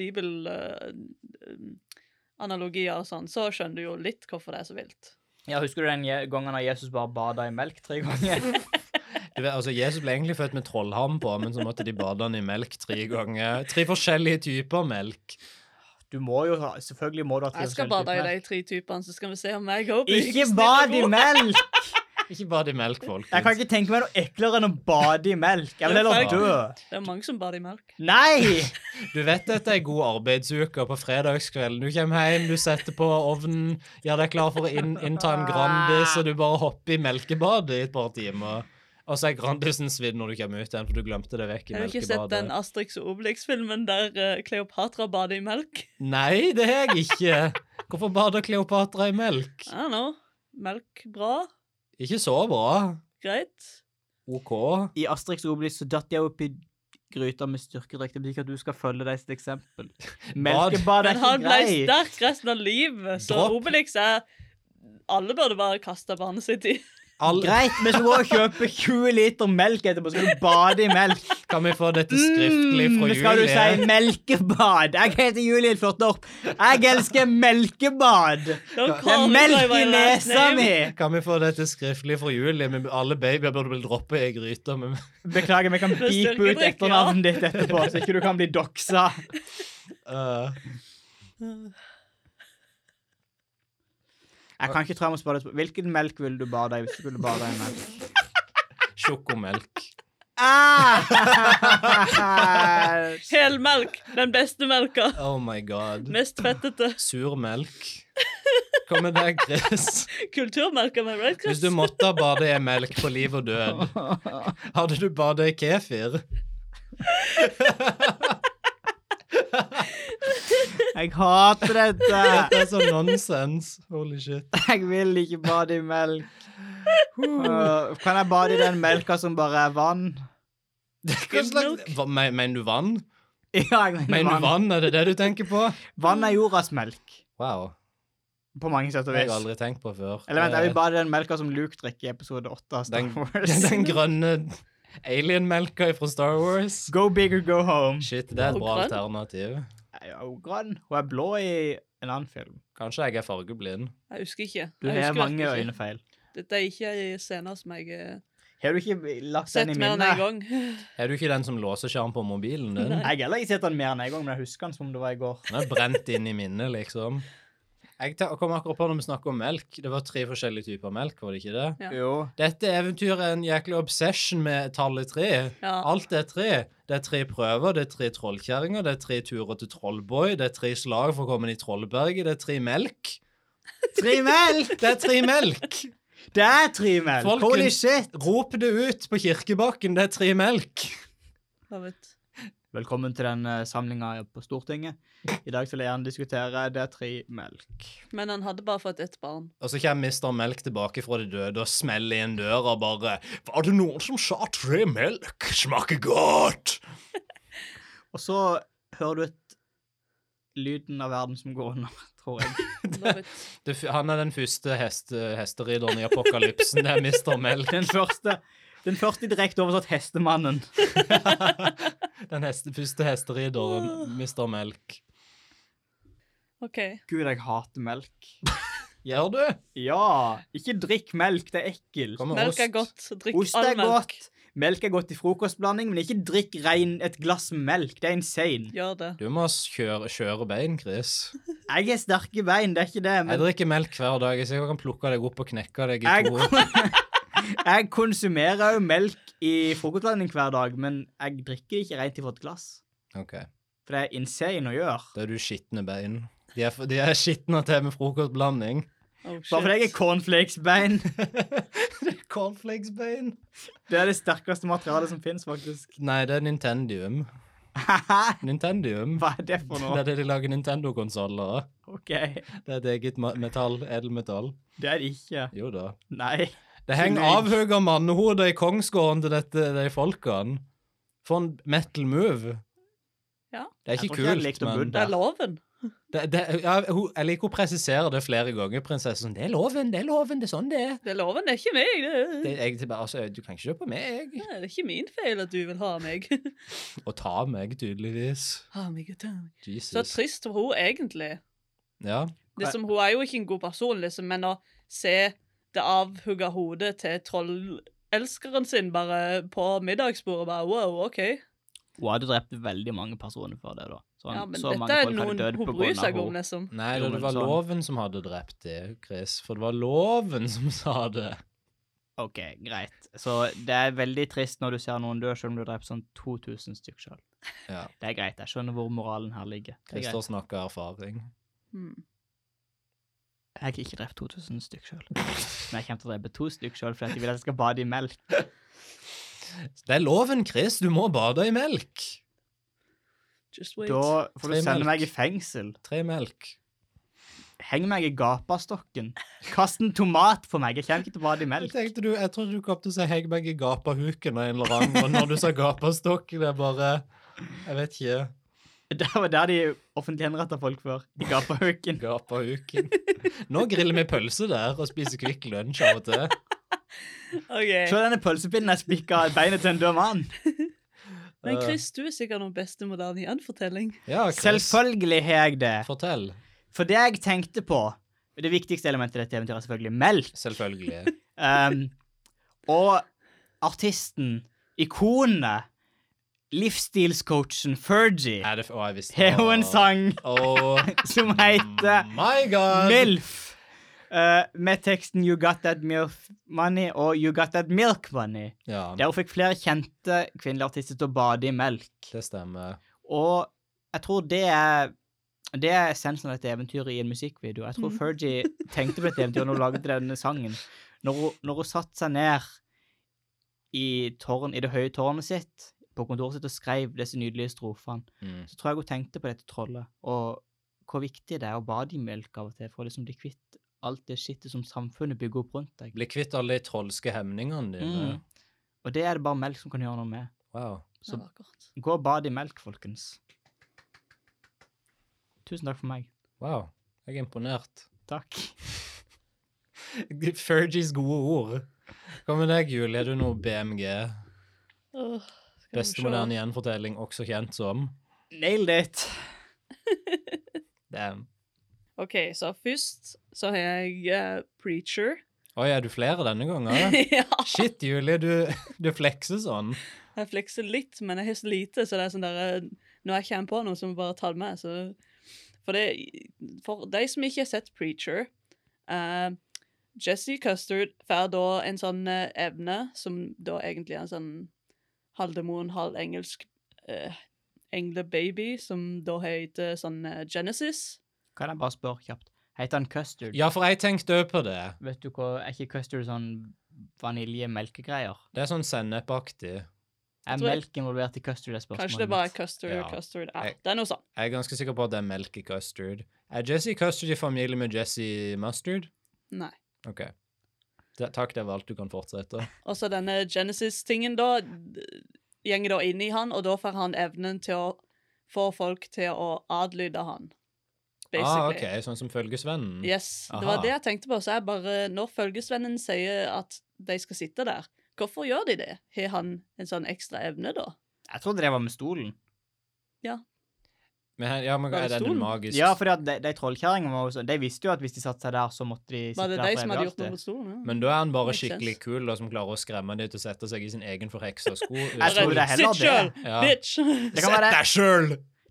Speaker 2: bibelanalogier eh, og sånn, så skjønner du jo litt hvorfor det er så vilt.
Speaker 4: Ja, Husker du den je- gangen da Jesus bare bada i melk tre ganger?
Speaker 3: Du vet, altså, Jesus ble egentlig født med trollham på, men så måtte de bade han i melk tre ganger. Tre forskjellige typer melk.
Speaker 4: Du må jo ha Selvfølgelig må du ha tre
Speaker 2: Jeg skal
Speaker 4: forskjellige
Speaker 2: bade i
Speaker 4: typer
Speaker 2: de
Speaker 4: melk.
Speaker 2: tre typene, så skal vi se om jeg går på
Speaker 4: Ikke
Speaker 2: yngste
Speaker 4: bad i
Speaker 2: nivå.
Speaker 4: melk!
Speaker 3: Ikke bad i melk, folkens.
Speaker 4: Jeg kan ikke tenke meg noe eklere enn å bade i melk. Jeg vil heller
Speaker 2: Ja.
Speaker 4: dø.
Speaker 2: Det er mange som bader i melk.
Speaker 4: Nei!
Speaker 3: Du vet at det er god arbeidsuke og på fredagskvelden. Du kommer hjem, du setter på ovnen, gjør deg klar for å inn, innta en Grandis, og du bare hopper i melkebadet i et par timer. Og så er Grandisen svidd når du kommer ut igjen, for du glemte det vekk i
Speaker 2: Jeg har ikke sett
Speaker 3: melkebadet.
Speaker 2: den Asterix og Obelix-filmen der eh, Kleopatra bader i melk.
Speaker 3: Nei, det har jeg ikke. Hvorfor bader Kleopatra i melk?
Speaker 2: I don't know. Melk bra,
Speaker 3: Ikke så bra.
Speaker 2: greit.
Speaker 3: OK.
Speaker 4: I Asterix og Obelix så datt jeg opp i gryta med styrkedrikk. Det betyr ikke at du skal følge deg sitt eksempel. Melkebad er
Speaker 2: Men
Speaker 4: ikke
Speaker 2: han ble
Speaker 4: greit.
Speaker 2: sterk resten av livet, så
Speaker 3: Dropp.
Speaker 2: Obelix er Alle burde bare kaste barnet sitt i.
Speaker 3: All,
Speaker 4: Greit, men så må du kjøpe 20 liter melk etterpå. Skal du bade i melk?
Speaker 3: kan vi få dette skriftlig fra
Speaker 4: Mm, skal du si
Speaker 3: Julie?
Speaker 4: melkebad? Jeg heter Julie Flåttorp. Jeg elsker melkebad.
Speaker 2: Don't
Speaker 4: Det
Speaker 2: call
Speaker 4: er
Speaker 2: me
Speaker 4: melk
Speaker 2: by
Speaker 4: i
Speaker 2: my last
Speaker 4: nesa
Speaker 2: name.
Speaker 4: mi.
Speaker 3: Kan vi få dette skriftlig fra Julie? Men alle babyer burde bli droppet i gryta med
Speaker 4: Beklager, vi kan
Speaker 2: Med
Speaker 4: pipe ut
Speaker 2: styrkedrikk, ja.
Speaker 4: etternavnet ditt etterpå, så ikke du kan bli doxa.
Speaker 3: Øh.
Speaker 4: Jeg kan ikke tro jeg må spørre deg Hvilken melk ville du bade i hvis du skulle bade i melk?
Speaker 3: Sjokomelk.
Speaker 4: Ah!
Speaker 2: Helmelk. Den beste melka.
Speaker 3: Oh my god.
Speaker 2: Mest fettete.
Speaker 3: Surmelk. Hva med deg, Chris?
Speaker 2: Kulturmelk am I right, Chris?
Speaker 3: Hvis du måtte ha badet i melk på liv og død, hadde du badet i kefir?
Speaker 4: Jeg hater dette!
Speaker 3: Det er sånn nonsens. Holy shit.
Speaker 4: Jeg vil ikke bade i melk. Uh, kan jeg bade i den melka som bare er vann?
Speaker 3: Hva slags Hva, men- Mener du vann?
Speaker 4: Ja, jeg
Speaker 3: Mener du
Speaker 4: vann.
Speaker 3: vann? Er det det du tenker på?
Speaker 4: Vann er jordas melk,
Speaker 3: Wow.
Speaker 4: på mange sett
Speaker 3: Det
Speaker 4: og
Speaker 3: har jeg
Speaker 4: vis.
Speaker 3: aldri tenkt på før.
Speaker 4: Eller vent, jeg vil bade i den melka som Luke drikker i episode 8 av Star
Speaker 3: Den-
Speaker 4: Wars.
Speaker 3: Eh, Den grønne alien-melka fra Star Wars.
Speaker 4: Go big or go home.
Speaker 3: Shit, det er et
Speaker 2: Og
Speaker 3: bra
Speaker 2: grønn.
Speaker 3: alternativ.
Speaker 4: Jeg er jo grønn. Hun er blå i en annen film.
Speaker 3: Kanskje jeg er fargeblind.
Speaker 2: Jeg husker ikke.
Speaker 4: Du
Speaker 2: Jeg
Speaker 4: har
Speaker 2: husker
Speaker 4: mange
Speaker 2: virkelig ikke.
Speaker 4: øynefeil.
Speaker 2: Dette er ikke ei scene som jeg har
Speaker 4: Har du ikke lagt
Speaker 2: sett
Speaker 4: den i
Speaker 2: mer enn én
Speaker 4: minnet?
Speaker 2: gang.
Speaker 3: Er du ikke den som låser skjerm på mobilen din?
Speaker 4: Jeg har heller ikke sett den mer enn en gang, men jeg husker den som det var i går.
Speaker 3: Den er brent inn i minnet, liksom. Jeg ta- kom akkurat på når vi snakker om melk. Det var tre forskjellige typer melk, var det ikke det?
Speaker 2: Ja.
Speaker 4: Jo.
Speaker 3: Dette eventyret er en jæklig obsession med tallet tre.
Speaker 2: Ja.
Speaker 3: Alt er tre. Det er tre prøver, det er tre trollkjerringer, det er tre turer til Trollboy, det er tre slag for å komme inn i Trollberget, det er tre melk.
Speaker 4: Tre melk!
Speaker 3: Det er tre melk!
Speaker 4: Det er tre melk!
Speaker 3: Folkens-
Speaker 4: Holy shit!
Speaker 3: Rop det ut på kirkebakken, det er tre melk.
Speaker 2: Jeg vet.
Speaker 4: Velkommen til den uh, samlinga på Stortinget. I dag vil jeg gjerne diskutere det er tre melk.
Speaker 2: Men han hadde bare fått ett barn.
Speaker 3: Og så kommer Mr. Melk tilbake fra de døde og smeller igjen døra og bare Var det noen som sa tre melk? Smaker godt!
Speaker 4: Og så hører du et lyden av verden som går under, tror jeg.
Speaker 2: Love it.
Speaker 3: Det, f- han er den første hest, hesteridderen i apokalypsen. Det er Mr. Melk.
Speaker 4: Den første, den første direkte oversatt hestemannen.
Speaker 3: Den heste, første hesteridderen, Mr. Melk.
Speaker 2: OK.
Speaker 4: Gud, jeg hater melk.
Speaker 3: Gjør du?
Speaker 4: Ja! Ikke drikk melk, det er ekkelt.
Speaker 3: Hva med
Speaker 2: Melk er
Speaker 3: ost?
Speaker 2: godt. Drikk
Speaker 4: Ost
Speaker 2: all
Speaker 4: er
Speaker 2: melk.
Speaker 4: godt. Melk er godt i frokostblanding, men ikke drikk rein et glass melk. Det er insane.
Speaker 2: Gjør det.
Speaker 3: Du må s- kjøre, kjøre bein, Chris.
Speaker 4: Jeg er sterke bein, det er ikke det,
Speaker 3: Jeg
Speaker 4: men
Speaker 3: drikker melk hver dag. Jeg sikkert kan plukke deg opp og knekke deg i
Speaker 4: Jeg,
Speaker 3: to.
Speaker 4: jeg konsumerer jo melk i frokostblanding hver dag, men jeg drikker det ikke rent ifra et glass.
Speaker 3: Ok,
Speaker 4: For det er insane å gjøre.
Speaker 3: Da er du skitne bein. De er, f- de er skitne til med frokostblanding.
Speaker 2: Oh,
Speaker 4: Bare fordi jeg er
Speaker 2: shit.
Speaker 4: cornflakesbein.
Speaker 3: Cornflakesbein.
Speaker 4: Det er det sterkeste materialet som fins, faktisk.
Speaker 3: Nei, det er Nintendium.
Speaker 4: Hæ?
Speaker 3: Nintendium.
Speaker 4: Hva er det for
Speaker 3: Det er
Speaker 4: noe?
Speaker 3: det de lager Nintendo-konsoller av.
Speaker 4: OK. Det
Speaker 3: Det er et eget ma- metall. Edelmetall.
Speaker 4: er det ikke.
Speaker 3: Jo da.
Speaker 4: Nei.
Speaker 3: Det henger
Speaker 4: Nei.
Speaker 3: avhugga mannehoder i kongsgården til dette, de folkene. For en metal move.
Speaker 2: Ja.
Speaker 3: Det er
Speaker 4: Jeg
Speaker 3: ikke
Speaker 4: tror ikke jeg
Speaker 3: kult,
Speaker 4: likte å bo
Speaker 3: men
Speaker 4: der.
Speaker 2: Det er loven.
Speaker 3: Det, det, ja, hun, jeg liker å presisere det flere ganger, prinsessen. Det er loven, det er loven, det er sånn det er.
Speaker 2: Det er loven, det er ikke meg. Det,
Speaker 3: Det, er egentlig bare, altså, du kan ikke kjøpe meg
Speaker 2: Nei, det er ikke min feil at du vil ha meg.
Speaker 3: og ta meg, tydeligvis.
Speaker 2: ha meg og ta meg. Så
Speaker 3: Jesus.
Speaker 2: trist for hun egentlig.
Speaker 3: Ja.
Speaker 2: Det som, hun er jo ikke en god person, liksom, men å se det avhugga hodet til trollelskeren sin bare på middagsbordet, bare wow, OK.
Speaker 4: Hun hadde drept veldig mange personer før det, da. Sånn,
Speaker 2: Ja, men
Speaker 4: så mange
Speaker 2: dette er
Speaker 4: folk hadde
Speaker 2: noen
Speaker 4: dødd på
Speaker 2: hun
Speaker 4: grunn
Speaker 2: bryr
Speaker 4: av
Speaker 2: seg om,
Speaker 4: henne.
Speaker 2: liksom.
Speaker 3: Nei,
Speaker 4: Jo,
Speaker 3: det,
Speaker 4: men
Speaker 3: var
Speaker 4: sånn.
Speaker 3: loven som hadde drept det, Chris. For det var loven som sa det.
Speaker 4: OK, greit. Så det er veldig trist når du ser noen dø, selv om du har drept sånn 2000 stykker selv.
Speaker 3: Ja.
Speaker 4: Det er greit. Jeg skjønner hvor moralen her ligger. Det er
Speaker 3: Christer
Speaker 4: greit.
Speaker 3: snakker erfaring.
Speaker 2: Hmm.
Speaker 4: Jeg har ikke drept 2000 stykker selv. Men jeg kommer til å drepe to stykker selv fordi at de vil at jeg skal bade i melk.
Speaker 3: Det er loven, Chris. Du må bade i melk.
Speaker 2: Just wait.
Speaker 4: Da får du
Speaker 3: Tre
Speaker 4: sende
Speaker 3: melk.
Speaker 4: meg i fengsel.
Speaker 3: Tre melk.
Speaker 4: Heng meg i gapastokken. Kast en tomat på meg. Jeg kommer ikke til å bade i
Speaker 3: Jeg
Speaker 4: melk.
Speaker 3: tenkte du, jeg trodde du kom til å si 'hegg meg i gapahuken' av en eller annen, og når du sa 'gapastokk', det er bare Jeg vet ikke.
Speaker 4: Det var der de offentlig henretta folk før. I gapahuken.
Speaker 3: Gapahuken. Nå griller vi pølse der og spiser Kvikk Lunsj av og til.
Speaker 4: Se
Speaker 2: OK.
Speaker 4: denne pølsepinnen jeg spikka i beinet til en død mann. eh,
Speaker 2: Men Chris, du er sikkert den beste moderne gjenfortelling.
Speaker 3: Ja, Chris,
Speaker 4: Selvfølgelig har jeg det.
Speaker 3: Fortell.
Speaker 4: For det jeg tenkte på Det viktigste elementet i dette eventyret er selvfølgelig melk.
Speaker 3: Selvfølgelig.
Speaker 4: Um, og artisten, ikonet, livsstilscoachen Fergie
Speaker 3: Er det f- Å, jeg visste
Speaker 4: har jo en sang
Speaker 3: Oh,
Speaker 4: som heter
Speaker 3: my god!
Speaker 4: MILF. eh, med teksten You Got That Milf Money og You Got That Milk Money.
Speaker 3: Ja,
Speaker 4: Der hun fikk flere kjente kvinnelige artister til å bade i melk.
Speaker 3: det stemmer.
Speaker 4: Og jeg tror det er det er essensen av dette eventyret i en musikkvideo. Jeg tror Fergie tenkte på dette eventyret når hun lagde denne sangen. Når hun, når hun satte seg ned i, tårn, i det høye tårnet sitt på kontoret sitt og skrev disse nydelige strofene,
Speaker 3: Mm.
Speaker 4: så tror jeg hun tenkte på dette trollet, og hvor viktig det er å bade i melk av og til for å liksom bli kvitt alt det skittet som samfunnet bygger opp rundt deg.
Speaker 3: Bli kvitt alle de trolske hemningene dine.
Speaker 4: Mm. Og det er det bare melk som kan gjøre noe med.
Speaker 3: Wow.
Speaker 2: Så
Speaker 4: Så-
Speaker 2: vakkert.
Speaker 4: Gå og bad i melk, folkens. Tusen takk for meg.
Speaker 3: wow. Jeg er imponert.
Speaker 4: Takk.
Speaker 3: Fergies gode ord. Hva med deg, Julie? Er du noe BMG?
Speaker 2: Åh, skal vi
Speaker 3: Beste
Speaker 2: se.
Speaker 3: moderne gjenfortelling, også kjent som
Speaker 4: Nailed it!
Speaker 3: Damn.
Speaker 2: OK, så først så har jeg eh, Preacher.
Speaker 3: Oi, er du flere denne gangen?
Speaker 2: ja.
Speaker 3: Shit, Julie, du, du flekser sånn.
Speaker 2: Jeg flekser litt, men jeg har så lite, så det er sånn der eh, Når jeg kommer på noe, så må jeg bare ta det med. Så. For, det, for de som ikke har sett Preacher eh, Jesse Custard får da en sånn eh, evne, som da egentlig er en sånn halvdemon, halvengelsk uh, englebaby, som da heter sånn eh, Genesis.
Speaker 4: Kan jeg bare spørre kjapt? Heter han custard?
Speaker 3: Ja, for jeg tenkte òg på det.
Speaker 4: Vet du hva, er ikke custard sånn vanilje-melkegreier?
Speaker 3: Det er sånn sennepaktig.
Speaker 4: Er
Speaker 2: tror jeg-
Speaker 4: melk involvert i custard, er spørsmålet
Speaker 2: Kanskje det bare er
Speaker 4: mitt.
Speaker 2: Custard og
Speaker 3: Ja.
Speaker 2: Custard ja,
Speaker 3: Jeg-
Speaker 2: Det er noe sånn.
Speaker 3: Jeg er ganske sikker på at det er melk i custard. Er Jesse Custard i familie med Jesse Mustard?
Speaker 2: Nei.
Speaker 3: OK. Det, takk, det var alt du kan fortsette.
Speaker 2: Og så denne Genesis-tingen da d- gjenger da inn i han, og da får han evnen til å få folk til å adlyde han.
Speaker 3: Ah, OK,
Speaker 2: Basically.
Speaker 3: sånn som følgesvennen?
Speaker 2: Yes, det
Speaker 3: Aha.
Speaker 2: var det jeg tenkte på. Så jeg bare, når følgesvennen sier at de skal sitte der, hvorfor gjør de det? Har han en sånn ekstra evne da?
Speaker 4: Jeg trodde det var med stolen.
Speaker 3: Men, her- ja, men
Speaker 2: Var
Speaker 3: er
Speaker 2: det
Speaker 3: den
Speaker 2: stolen?
Speaker 3: magisk?
Speaker 4: Ja, for de, de trollkjerringene var jo sånn, de visste jo at hvis de satte seg der, så måtte de sitte
Speaker 2: Var det
Speaker 4: der
Speaker 2: de
Speaker 4: for
Speaker 2: som
Speaker 4: evig
Speaker 2: hadde gjort noe
Speaker 4: alltid.
Speaker 2: mot stolen? ja?
Speaker 3: Men da er han bare
Speaker 2: Makes
Speaker 3: skikkelig
Speaker 2: sense.
Speaker 3: kul, da, som klarer å skremme dem til å sette seg i sin egen forheksa sko.
Speaker 4: Jeg tror det er heller
Speaker 2: Sitt sjøl,
Speaker 4: det.
Speaker 3: Ja.
Speaker 2: bitch!
Speaker 4: Det kan være,
Speaker 3: sjøl!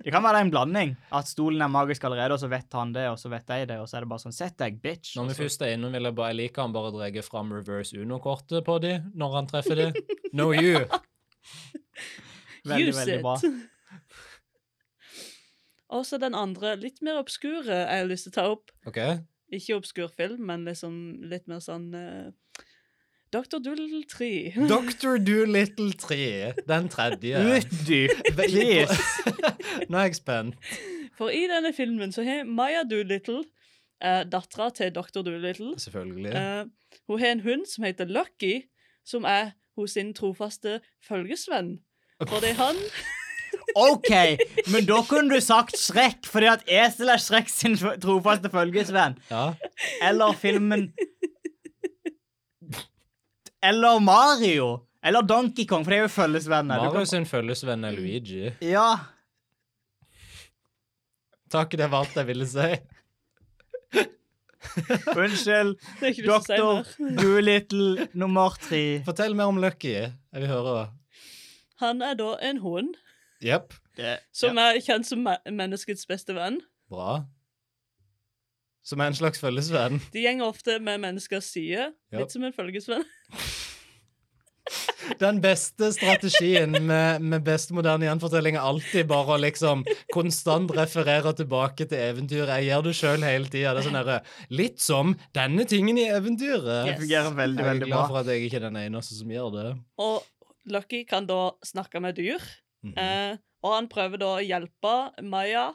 Speaker 4: det kan være en blanding. At stolen er magisk allerede, og så vet han det, og så vet de det, og så er det bare sånn Sett deg, bitch.
Speaker 3: Når vi
Speaker 4: Og så-
Speaker 3: først er innom, vil jeg bare jeg liker han bare drar fram reverse Uno-kortet på de når han treffer de. No you!
Speaker 4: Veldig,
Speaker 2: Use
Speaker 4: veldig bra.
Speaker 2: it. Og så den andre, litt mer obskure, jeg har lyst til å ta opp.
Speaker 3: OK?
Speaker 2: Ikke obskur film, men liksom litt mer sånn Dr. Doodle 3.
Speaker 3: Dr. Doolittle 3, den tredje.
Speaker 4: Utdyp,
Speaker 3: Veldig
Speaker 4: please!
Speaker 3: bra. Nå er jeg spent.
Speaker 2: For i denne filmen så har Maya Doolittle, uh, dattera til Dr. Doolittle
Speaker 3: Selvfølgelig.
Speaker 2: eh, Hun har en hund som heter Lucky, som er hos sin trofaste følgesvenn. For det er han
Speaker 4: OK, men da kunne du sagt Shrek, fordi at Esel er Shrek sin trofaste følgesvenn.
Speaker 3: Ja.
Speaker 4: Eller filmen Eller Mario. Eller Donkey Kong, for det er jo følgesvenner. Du kan-
Speaker 3: Mario sin følgesvenn er Luigi.
Speaker 4: Ja.
Speaker 3: Takk, det var alt jeg ville si.
Speaker 4: Unnskyld.
Speaker 2: Det er ikke du som sier
Speaker 4: Doktor
Speaker 2: mer.
Speaker 4: Doolittle nummer tre.
Speaker 3: Fortell mer om Lucky. Jeg vil høre.
Speaker 2: Han er da en hund
Speaker 3: Jepp.
Speaker 4: Det-
Speaker 2: som er kjent som me- menneskets beste venn.
Speaker 3: Bra. Som er en slags følgesvenn.
Speaker 2: De gjenger ofte med menneskers side,
Speaker 3: Ja.
Speaker 2: litt som en følgesvenn.
Speaker 3: Den beste strategien med, med beste moderne gjenfortelling er alltid bare å liksom konstant referere tilbake til eventyret. Jeg gjør det sjøl hele tida. Det er sånn herre Litt som denne tingen i eventyret.
Speaker 4: Det fungerer veldig,
Speaker 3: Jeg er
Speaker 4: veldig
Speaker 3: glad
Speaker 4: bra.
Speaker 3: for at jeg ikke er den eneste som gjør det.
Speaker 2: Og Lucky kan da snakke med dyr,
Speaker 3: Mhm.
Speaker 2: eh, og han prøver da å hjelpe Maya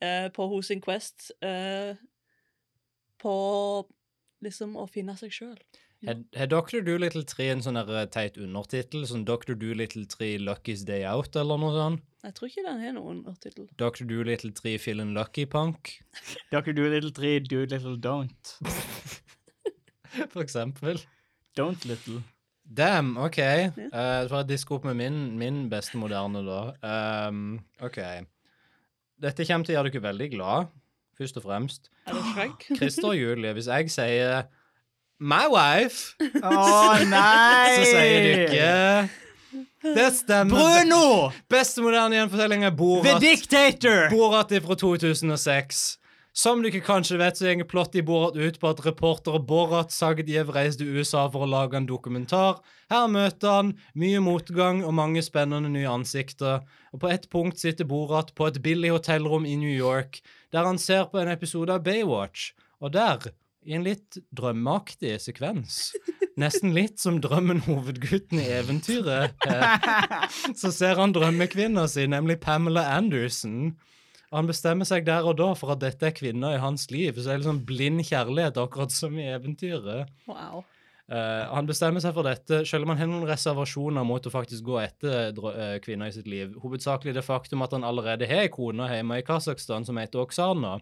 Speaker 2: eh, på hos sin quest eh, på liksom å finne seg sjøl.
Speaker 3: Har har Dr. Doolittle 3 en sånn her teit undertittel? Sånn Dr. Doolittle 3 Lucky's Day Out, eller noe sånt?
Speaker 2: Jeg tror ikke den har noen undertittel.
Speaker 3: Dr. Doolittle 3 Feelin' Lucky Punk,
Speaker 4: Dr. Doolittle 3, Doolittle Don't.
Speaker 3: for eksempel.
Speaker 4: Don't Little.
Speaker 3: Damn, OK. Eh, Da får jeg diske opp med min, min beste moderne, da. Ehm, OK. Dette kommer til å gjøre dere veldig glad, først og fremst.
Speaker 2: Er det Shrek?
Speaker 3: Christer og Julie, hvis jeg sier My wife,
Speaker 4: Å nei!
Speaker 3: så sier dere Det stemmer.
Speaker 4: Bruno!
Speaker 3: Beste moderne gjenfortelling er
Speaker 4: The
Speaker 3: Borat.
Speaker 4: Dictator!
Speaker 3: Borat er fra 2006. Som dere kanskje vet, så går plott i Borat ut på at reporter Borat Sagdiev reiste til USA for å lage en dokumentar. Her møter han mye motgang og mange spennende nye ansikter. Og på ett punkt sitter Borat på et billig hotellrom i New York, der han ser på en episode av Baywatch. Og der, i en litt drømmeaktig sekvens, nesten litt som drømmen hovedgutten i eventyret, eh, så ser han drømmekvinna si, nemlig Pamela Anderson. Og Han bestemmer seg der og da for at dette er kvinner i hans liv. Så det er liksom blind kjærlighet, akkurat som i eventyret.
Speaker 2: Wow.
Speaker 3: Eh, han bestemmer seg for dette, selv om han har noen reservasjoner mot å faktisk gå etter dro- eh, kvinner i sitt liv. Hovedsakelig det faktum at han allerede har ei kone hjemme i Kasakhstan som heter Oksana.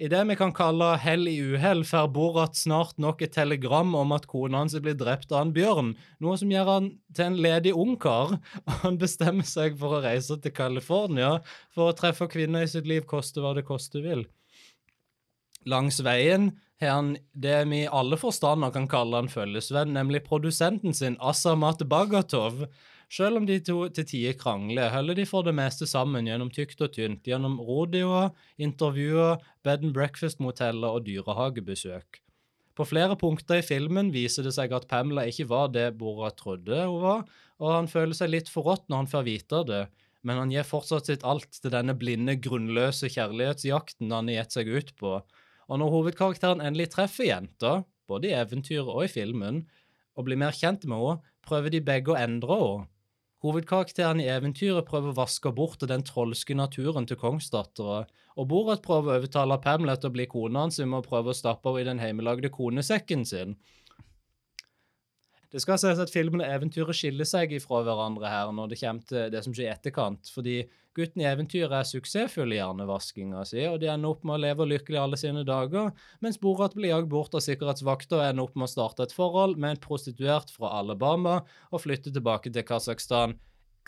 Speaker 3: I det vi kan kalle hell i uhell, får Borat snart nok et telegram om at kona hans blir drept av en bjørn, noe som gjør han til en ledig ungkar. Og han bestemmer seg for å reise til California for å treffe kvinner i sitt liv, koste hva det koste vil langs veien har han det vi i alle forstander kan kalle en følgesvenn, nemlig produsenten sin, Asamat Bagatov. Selv om de to til tider krangler, holder de for det meste sammen gjennom tykt og tynt, gjennom rodeoer, intervjuer, bed and breakfast-moteller og dyrehagebesøk. På flere punkter i filmen viser det seg at Pamela ikke var det Borat trodde hun var, og han føler seg litt forrådt når han får vite det men han gir fortsatt sitt alt til denne blinde, grunnløse kjærlighetsjakten han har gitt seg ut på. Og når hovedkarakteren endelig treffer jenta, både i eventyret og i filmen, og blir mer kjent med henne, prøver de begge å endre henne. Hovedkarakteren i eventyret prøver å vaske bort den trolske naturen til kongsdattera, og Borat prøver å overtale Pamela til å bli kona hans med å prøve å stappe henne i den hjemmelagde konesekken sin. Det skal sies at filmen og eventyret skiller seg fra hverandre her når det kommer til det som skjer i etterkant, fordi gutten i eventyret er suksessfull i hjernevaskinga si, og de ender opp med å leve lykkelig alle sine dager, mens Borat blir jagd bort av sikkerhetsvakter og ender opp med å starte et forhold med en prostituert fra Alabama og flytte tilbake til Kasakhstan.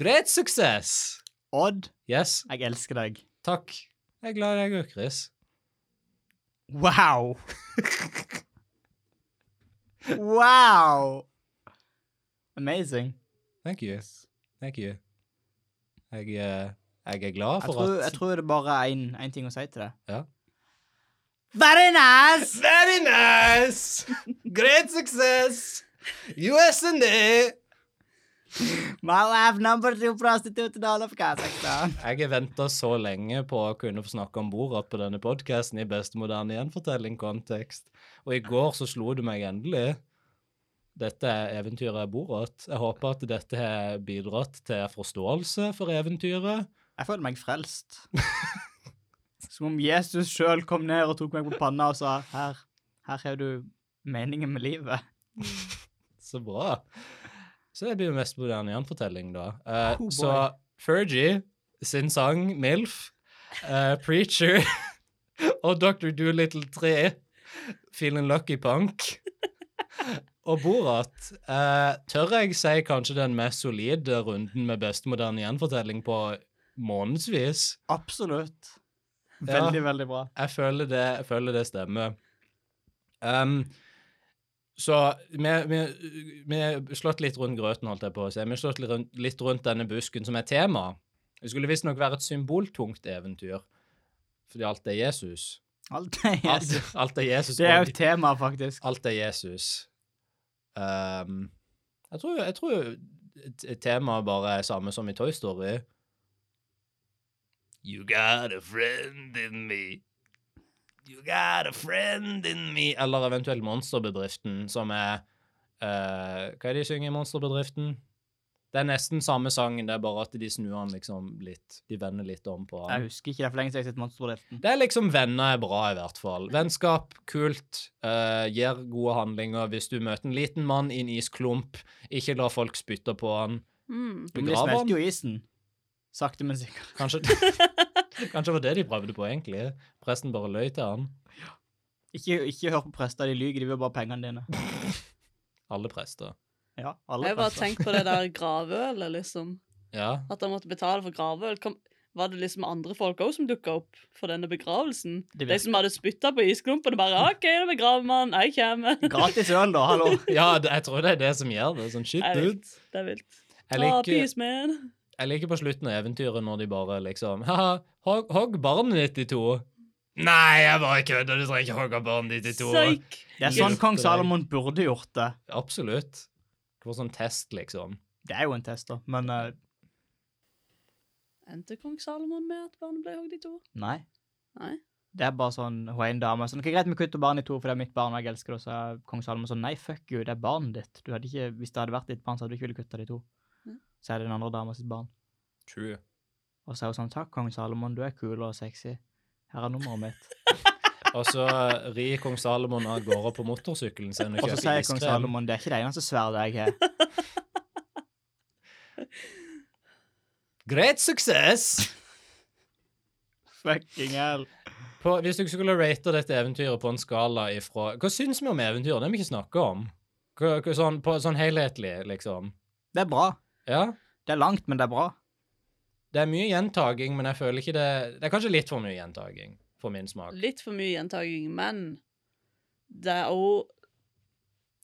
Speaker 3: Great success!
Speaker 4: Odd,
Speaker 3: Yes,
Speaker 4: jeg elsker deg.
Speaker 3: takk. Jeg er glad jeg òg, Chris.
Speaker 4: Wow! wow! Amazing.
Speaker 3: Thank you. Thank you. Jeg, eh, jeg er glad
Speaker 4: Jeg
Speaker 3: for
Speaker 4: tror, jeg
Speaker 3: at
Speaker 4: tror det bare er én ting å si til det.
Speaker 3: Ja.
Speaker 4: Very nice!
Speaker 3: Very nice! Great success! USND!
Speaker 4: My wife number two prostitute in all of Kazakhstan.
Speaker 3: Jeg har venta så lenge på å kunne få snakke om Borat på denne podkasten i beste moderne gjenfortelling-kontekst, og i går så slo du meg endelig. Dette er eventyret er Borat. Jeg håper at dette har bidratt til forståelse for eventyret.
Speaker 4: Jeg føler meg frelst. Som om Jesus sjøl kom ned og tok meg på panna og sa Her, her har du meningen med livet.
Speaker 3: Så bra. Så det blir jo mest moderne gjenfortelling, da. Eh,
Speaker 4: Oh, boy.
Speaker 3: så Fergie sin sang MILF, eh, Preacher og Dr. Doolittle 3, Feeling Lucky Punk og Borat. Eh, tør jeg si kanskje den mest solide runden med beste moderne gjenfortelling på månedsvis?
Speaker 4: Absolutt.
Speaker 3: Ja.
Speaker 4: Veldig, veldig bra.
Speaker 3: Jeg føler det, jeg føler det stemmer. Ehm, så vi vi- vi har slått litt rundt grøten, holdt jeg på å si. Vi har slått litt rundt, litt rundt denne busken som er tema. Det skulle visstnok være et symboltungt eventyr, fordi alt er Jesus.
Speaker 4: Alt er Jesus.
Speaker 3: Alt, alt er Jesus.
Speaker 4: Det er jo
Speaker 3: og-
Speaker 4: et tema, faktisk.
Speaker 3: Alt er Jesus. Ehm, jeg tror, jeg tror t- temaet bare er samme som i Toy Story. You got a friend in me. You got a friend in me. Eller eventuelt Monsterbedriften, som er eh, Hva er det de synger i Monsterbedriften? Det er nesten samme sangen, det er bare at de snur den liksom litt. De vender litt om på den.
Speaker 4: Jeg husker ikke, det er for lenge siden jeg har sett Monsterbedriften.
Speaker 3: Det er liksom venner er bra, i hvert fall. Vennskap, kult, eh, gjør gode handlinger hvis du møter en liten mann i en isklump. Ikke la folk spytte på han.
Speaker 4: Men de
Speaker 2: Mm.
Speaker 3: Begrav han.
Speaker 4: smelter jo isen. Sakte, men sikkert.
Speaker 3: Kanskje, kanskje det var det de prøvde på, egentlig. Presten bare løy til han.
Speaker 4: Ikke, ikke hør på prester, de lyver, de vil bare pengene dine.
Speaker 3: Alle prester.
Speaker 4: Ja, alle
Speaker 2: Jeg bare
Speaker 4: prester.
Speaker 2: tenkt på det der gravølet, liksom.
Speaker 3: Ja.
Speaker 2: At han måtte betale for gravøl. Kom, var det liksom andre folk òg som dukka opp for denne begravelsen?
Speaker 4: Det
Speaker 2: De
Speaker 4: virker-
Speaker 2: som hadde spytta på isklumpen og bare OK, da begraver man, jeg kommer.
Speaker 4: Gratis øl, da, hallo.
Speaker 3: ja, det- jeg tror det er det som gjør det. Sånn shit,
Speaker 2: Det er
Speaker 3: dude.
Speaker 2: vilt. Det er vilt.
Speaker 3: Jeg
Speaker 2: Ah,
Speaker 3: liker,
Speaker 2: peace, man.
Speaker 3: jeg liker på slutten av eventyret når de bare liksom Haha, hogg, hogg barnet ditt i to. Nei, jeg bare kødder. Du trenger ikke hogge barnet ditt i to.
Speaker 2: Psyk.
Speaker 4: Det er sånn
Speaker 3: Hjelper
Speaker 4: kong
Speaker 3: deg.
Speaker 4: Salomon burde gjort det.
Speaker 3: Absolutt. Det var sånn test, liksom.
Speaker 4: Det er jo en test, da, men eh,
Speaker 2: Endte kong Salomon med at barnet ble hogd i to?
Speaker 4: nei.
Speaker 2: Nei.
Speaker 4: Det er bare sånn hun er en dame. Sånn, ok, greit, vi kutter barnet i to, for det er mitt barn, og jeg elsker det. Og så er kong Salomon sånn, nei, fuck you, det er barnet ditt. Du hadde ikke, hvis det hadde vært ditt barn, så hadde du ikke ville kutte det i to.
Speaker 2: Mm.
Speaker 4: Så er det den andre dama sitt barn.
Speaker 3: True.
Speaker 4: Og så er hun sånn, takk, kong Salomon, du er kul og sexy. Her er nummeret mitt.
Speaker 3: Og så rir kong Salomon av gårde på motorsykkelen sin og
Speaker 4: Og så
Speaker 3: kjøper
Speaker 4: sier kong
Speaker 3: iskrem.
Speaker 4: Salomon, det er ikke det eneste sverdet jeg har.
Speaker 3: Great success!
Speaker 4: Fucking hell.
Speaker 3: På, hvis du skulle rate dette eventyret på en skala ifra Hva syns vi om eventyret? Det har vi ikke snakket om. Hva, hva, sånn, på, sånn helhetlig, liksom.
Speaker 4: Det er bra.
Speaker 3: Ja.
Speaker 4: Det er langt, men det er bra.
Speaker 3: Det er mye gjentaging, men jeg føler ikke det Det er kanskje litt for mye gjentaging, for min smak.
Speaker 2: Litt for mye gjentaging, men det er òg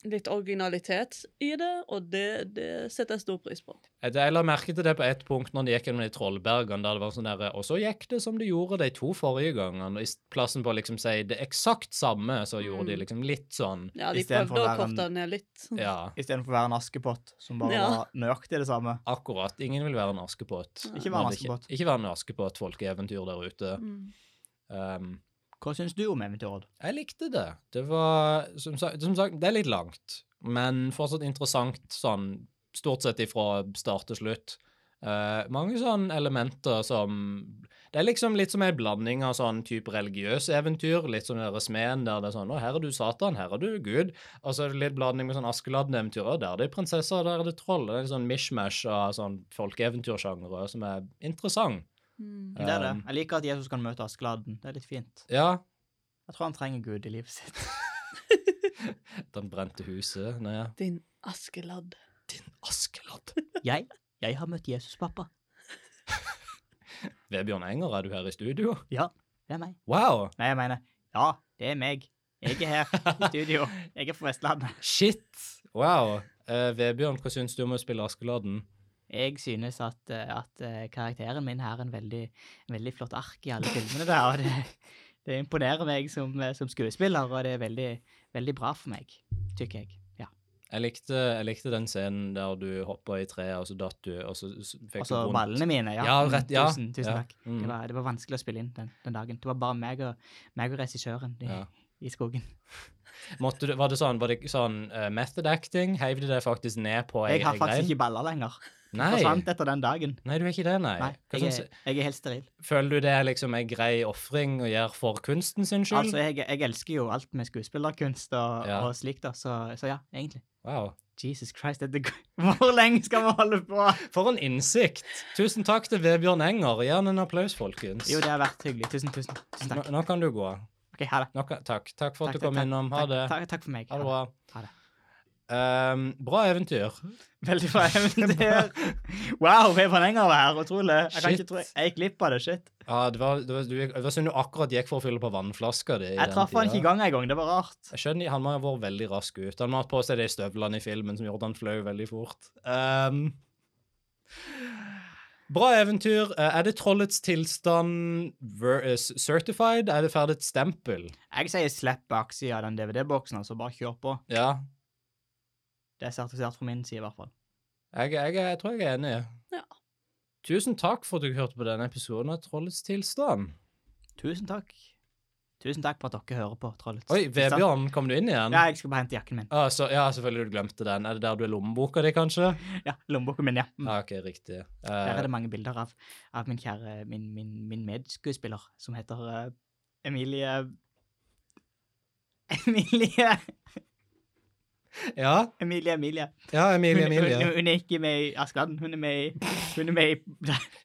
Speaker 2: litt originalitet i det, og det, det setter jeg stor pris på.
Speaker 3: Jeg jeg la merke til det på ett punkt når de gikk gjennom de trollbergene, der det var sånn derre Og så gikk det som de gjorde de to forrige gangene, og i plassen på å liksom si det eksakt samme, så gjorde de
Speaker 2: Mm.
Speaker 3: liksom litt sånn
Speaker 2: Ja, de
Speaker 4: Istedenfor
Speaker 2: prøvde å
Speaker 4: å være en-
Speaker 2: korte det ned litt.
Speaker 3: Ja.
Speaker 4: Istedenfor å være en askepott, som bare
Speaker 2: Ja.
Speaker 4: var nøyaktig det samme.
Speaker 3: Akkurat. Ingen vil være en askepott.
Speaker 2: Nei.
Speaker 4: Ikke være en
Speaker 3: Nei,
Speaker 4: askepott.
Speaker 3: Ikke, ikke være en askepott, folkeeventyr der ute.
Speaker 2: Mm.
Speaker 3: Um,
Speaker 4: Hva syns du om eventyret?
Speaker 3: jeg likte det. Det var som sagt, som sagt, det er litt langt, men fortsatt interessant sånn stort sett ifra start til slutt. Eh, mange sånne elementer som Det er liksom litt som en blanding av sånn type religiøse eventyr, litt som dere smeden, der det er sånn Å, her er du Satan, her er du Gud. Og så er det litt blanding med sånn Askeladden-eventyr. og Der er det prinsesser, der er det troll. Det er litt sånn mishmash av sånn folkeeventyrsjangre som er interessant.
Speaker 2: Mm.
Speaker 4: Det er det.
Speaker 3: Um,
Speaker 4: Jeg liker at Jesus kan møte Askeladden. Det er litt fint.
Speaker 3: Ja,
Speaker 4: Jeg tror han trenger Gud i livet sitt.
Speaker 3: Den brente huset. Nei.
Speaker 2: Din Askeladd.
Speaker 3: Askeladd.
Speaker 4: Jeg, jeg har møtt Jesus, pappa.
Speaker 3: Vebjørn Enger, er du her i studio?
Speaker 4: Det er meg.
Speaker 3: Wow!
Speaker 4: Nei, jeg mener, ja, det er meg. Jeg er her i studio. Jeg er fra Vestlandet.
Speaker 3: Shit! Wow. Eh, Vebjørn, hva syns du om å spille Askeladden?
Speaker 4: Jeg synes at, eh, at eh, karakteren min har en veldig, en veldig flott ark i alle filmene der, og det, det imponerer meg som, eh, som skuespiller, og det er veldig, veldig bra for meg, tykker jeg. Ja.
Speaker 3: Jeg likte, jeg likte den scenen der du hoppa i treet, og så datt du, og så s- fikk
Speaker 4: Altså
Speaker 3: du vondt.
Speaker 4: ballene mine, ja.
Speaker 3: Ja,
Speaker 4: Mm,
Speaker 3: rett- ja,
Speaker 4: Tusen, tusen
Speaker 3: ja.
Speaker 4: takk.
Speaker 3: Mm.
Speaker 4: Det, var, det var vanskelig å spille inn den, den dagen. Det var bare meg og, meg og regissøren i,
Speaker 3: Ja.
Speaker 4: i skogen.
Speaker 3: Måtte du, var det sånn, var det sånn eh, method acting? Heiv de deg faktisk ned på ei
Speaker 4: Jeg har
Speaker 3: ei
Speaker 4: faktisk
Speaker 3: grein?
Speaker 4: ikke baller lenger.
Speaker 3: Nei.
Speaker 4: Forsvant etter den dagen.
Speaker 3: Nei, du er ikke det, nei.
Speaker 4: Nei,
Speaker 3: Hva
Speaker 4: jeg,
Speaker 3: syns-
Speaker 4: er- jeg er helt steril.
Speaker 3: føler du det er liksom ei grei ofring å gjøre for kunsten sin skyld?
Speaker 4: Altså, jeg, jeg elsker jo alt med skuespillerkunst og,
Speaker 3: Ja.
Speaker 4: og slikt, da, så, så ja, egentlig.
Speaker 3: wow.
Speaker 4: Jesus Christ, dette går- Hvor lenge skal vi holde på?
Speaker 3: For en innsikt! Tusen takk til Vebjørn Enger. Gi han en applaus, folkens.
Speaker 4: Jo, det har vært hyggelig. Tusen, tusen, tusen
Speaker 3: nå,
Speaker 4: takk.
Speaker 3: nå kan du gå.
Speaker 4: Ok, ha det.
Speaker 3: Nå kan, takk. Takk for at
Speaker 4: Takk,
Speaker 3: du kom
Speaker 4: takk,
Speaker 3: innom. Ha
Speaker 4: takk,
Speaker 3: det.
Speaker 4: Takk, takk for meg.
Speaker 3: Ha det bra.
Speaker 4: Ha det.
Speaker 3: Ehm, bra eventyr.
Speaker 4: Veldig bra eventyr. Wow, Vebjørn Enger var her. Utrolig. Jeg kan
Speaker 3: Shit.
Speaker 4: ikke tro jeg gikk glipp av det. Shit.
Speaker 3: Ja, det var, det var, du, det var synd du akkurat gikk for å fylle på vannflaska di. i
Speaker 4: Jeg
Speaker 3: den
Speaker 4: traff han ikke i
Speaker 3: tida.
Speaker 4: gang engang. Det var rart.
Speaker 3: Jeg skjønner, han må ha vært veldig rask ut. Han må ha hatt på seg de støvlene i filmen som gjorde at han fløy veldig fort. Ehm, bra eventyr. Eh, Er det trollets tilstand ver- eh, certified? Er det ferdig et stempel?
Speaker 4: Jeg sier slipp baksida av den DVD-boksen, altså. Bare kjør på.
Speaker 3: Ja,
Speaker 4: Det er sertifisert fra min side, i hvert fall.
Speaker 3: jeg, jeg, jeg tror jeg er enig.
Speaker 2: Ja.
Speaker 3: Tusen takk for at du hørte på denne episoden av Trollets tilstand.
Speaker 4: Tusen takk. Tusen takk for at dere hører på, Trollets.
Speaker 3: Oi, Vebjørn, kom du inn igjen?
Speaker 4: Ja, jeg skal bare hente jakken min.
Speaker 3: Ah, så, ja, selvfølgelig du glemte den. Er det der du er lommeboka di, kanskje?
Speaker 4: Ja, lommeboken min, ja. Mm.
Speaker 3: Ja, ok, riktig.
Speaker 4: Der
Speaker 3: Eh,
Speaker 4: er det mange bilder av, av min kjære, min, min, min medskuespiller, som heter eh, Emilie... Emilie...
Speaker 3: ja,
Speaker 4: Emilie, Emilie.
Speaker 3: ja,
Speaker 1: Ah, é
Speaker 3: Emilie,
Speaker 4: Hun,
Speaker 3: Emilie.
Speaker 4: hun, hun er ikke med i Askeladden, hun er med i, hun er med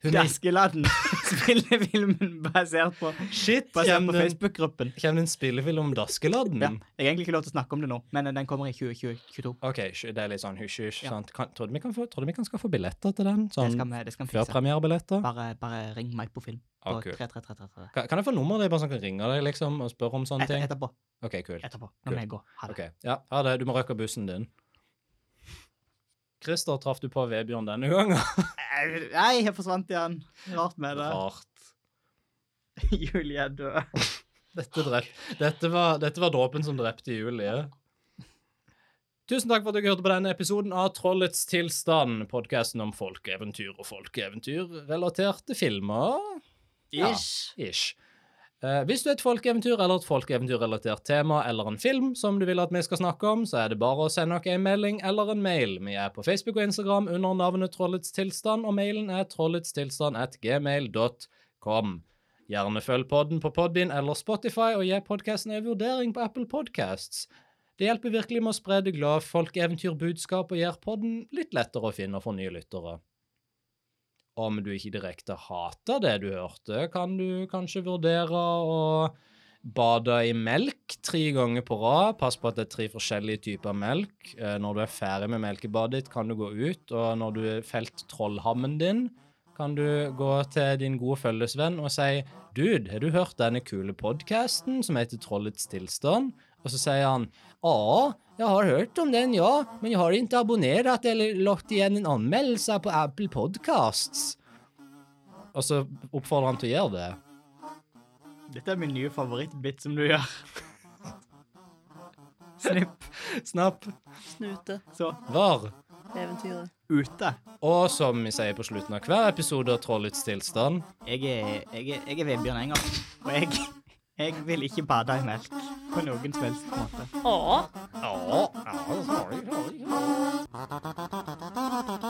Speaker 3: Hun
Speaker 4: i
Speaker 3: er-
Speaker 4: Askeladden. Spiller filmen basert på,
Speaker 3: Shit,
Speaker 4: basert
Speaker 3: kommer
Speaker 4: på
Speaker 3: det en-
Speaker 4: Facebook-gruppen.
Speaker 3: kommer det en spillefilm om Daskeladden?
Speaker 4: Ja, jeg har egentlig ikke lov til å snakke om det nå, men eh, den kommer i 2022.
Speaker 3: Ok, sj- det er litt sånn hysj-hysj.
Speaker 4: Ja.
Speaker 3: sant? Kan- Tror du vi kan få, tror du vi kan skaffe billetter til den?
Speaker 4: Det skal
Speaker 3: Sånn
Speaker 4: vi, det skal vi fikse.
Speaker 3: førpremierebilletter?
Speaker 4: Bare, bare ring meg på film. På
Speaker 3: Ah, kult.
Speaker 4: 3333.
Speaker 3: Kan, kan jeg få nummeret ditt, bare sånn at jeg kan ringe deg liksom, og spørre om sånne
Speaker 4: Etter,
Speaker 3: ting?
Speaker 4: etterpå.
Speaker 3: Ok, kult.
Speaker 4: Etterpå. Nå må jeg gå. Ha det.
Speaker 3: Ok, ja, ha det. Du må røkke bussen din. Christer, traff du på Vebjørn denne gangen?
Speaker 4: Eh, Nei, jeg forsvant igjen. Rart med det.
Speaker 3: Rart.
Speaker 4: Julie er død.
Speaker 3: Dette, drep, dette, var, dette var dråpen som drepte Julie. Tusen takk for at dere hørte på denne episoden av Trollets tilstand, podkasten om folkeeventyr og folkeeventyr relatert til filmer. Ja.
Speaker 4: Ish.
Speaker 3: Ish. Eh, hvis du er et folkeeventyr eller et folkeeventyrrelatert tema eller en film som du vil at vi skal snakke om, så er det bare å sende oss en melding eller en mail. Vi er på Facebook og Instagram under navnet Trollets tilstand, og mailen er trolletstilstand.gmail.com. Gjerne følg podden på Podbean eller Spotify, og gi podkasten en vurdering på Apple Podcasts. Det hjelper virkelig med å spre det glade folkeeventyrbudskap og gjør podden litt lettere å finne for nye lyttere. Om du ikke direkte hater det du hørte, kan du kanskje vurdere å bade i melk tre ganger på rad. Pass på at det er tre forskjellige typer melk. Eh, Når du er ferdig med melkebadet ditt, kan du gå ut, og når du har felt trollhammen din, kan du gå til din gode følgesvenn og si Dude, har du hørt denne kule podkasten som heter Trollets tilstand? Og så sier han Ja, jeg har hørt om den, ja, men jeg har ikke abonnert eller lagt igjen en anmeldelse på Apple Podcasts. Og så oppfordrer han til å gjøre det.
Speaker 4: Dette er min nye favorittbit som du gjør. Snipp.
Speaker 3: Snapp.
Speaker 2: Snute.
Speaker 4: Så
Speaker 3: Var.
Speaker 2: Eventyret.
Speaker 4: ute.
Speaker 3: Og som vi sier på slutten av hver episode av Trollets tilstand
Speaker 4: Jeg er, jeg er, jeg er Vebjørn Enger, og jeg, jeg vil ikke bade i melk på noen som helst måte.
Speaker 2: Åh.
Speaker 3: Ja, ja, sorry, sorry.
Speaker 5: Dette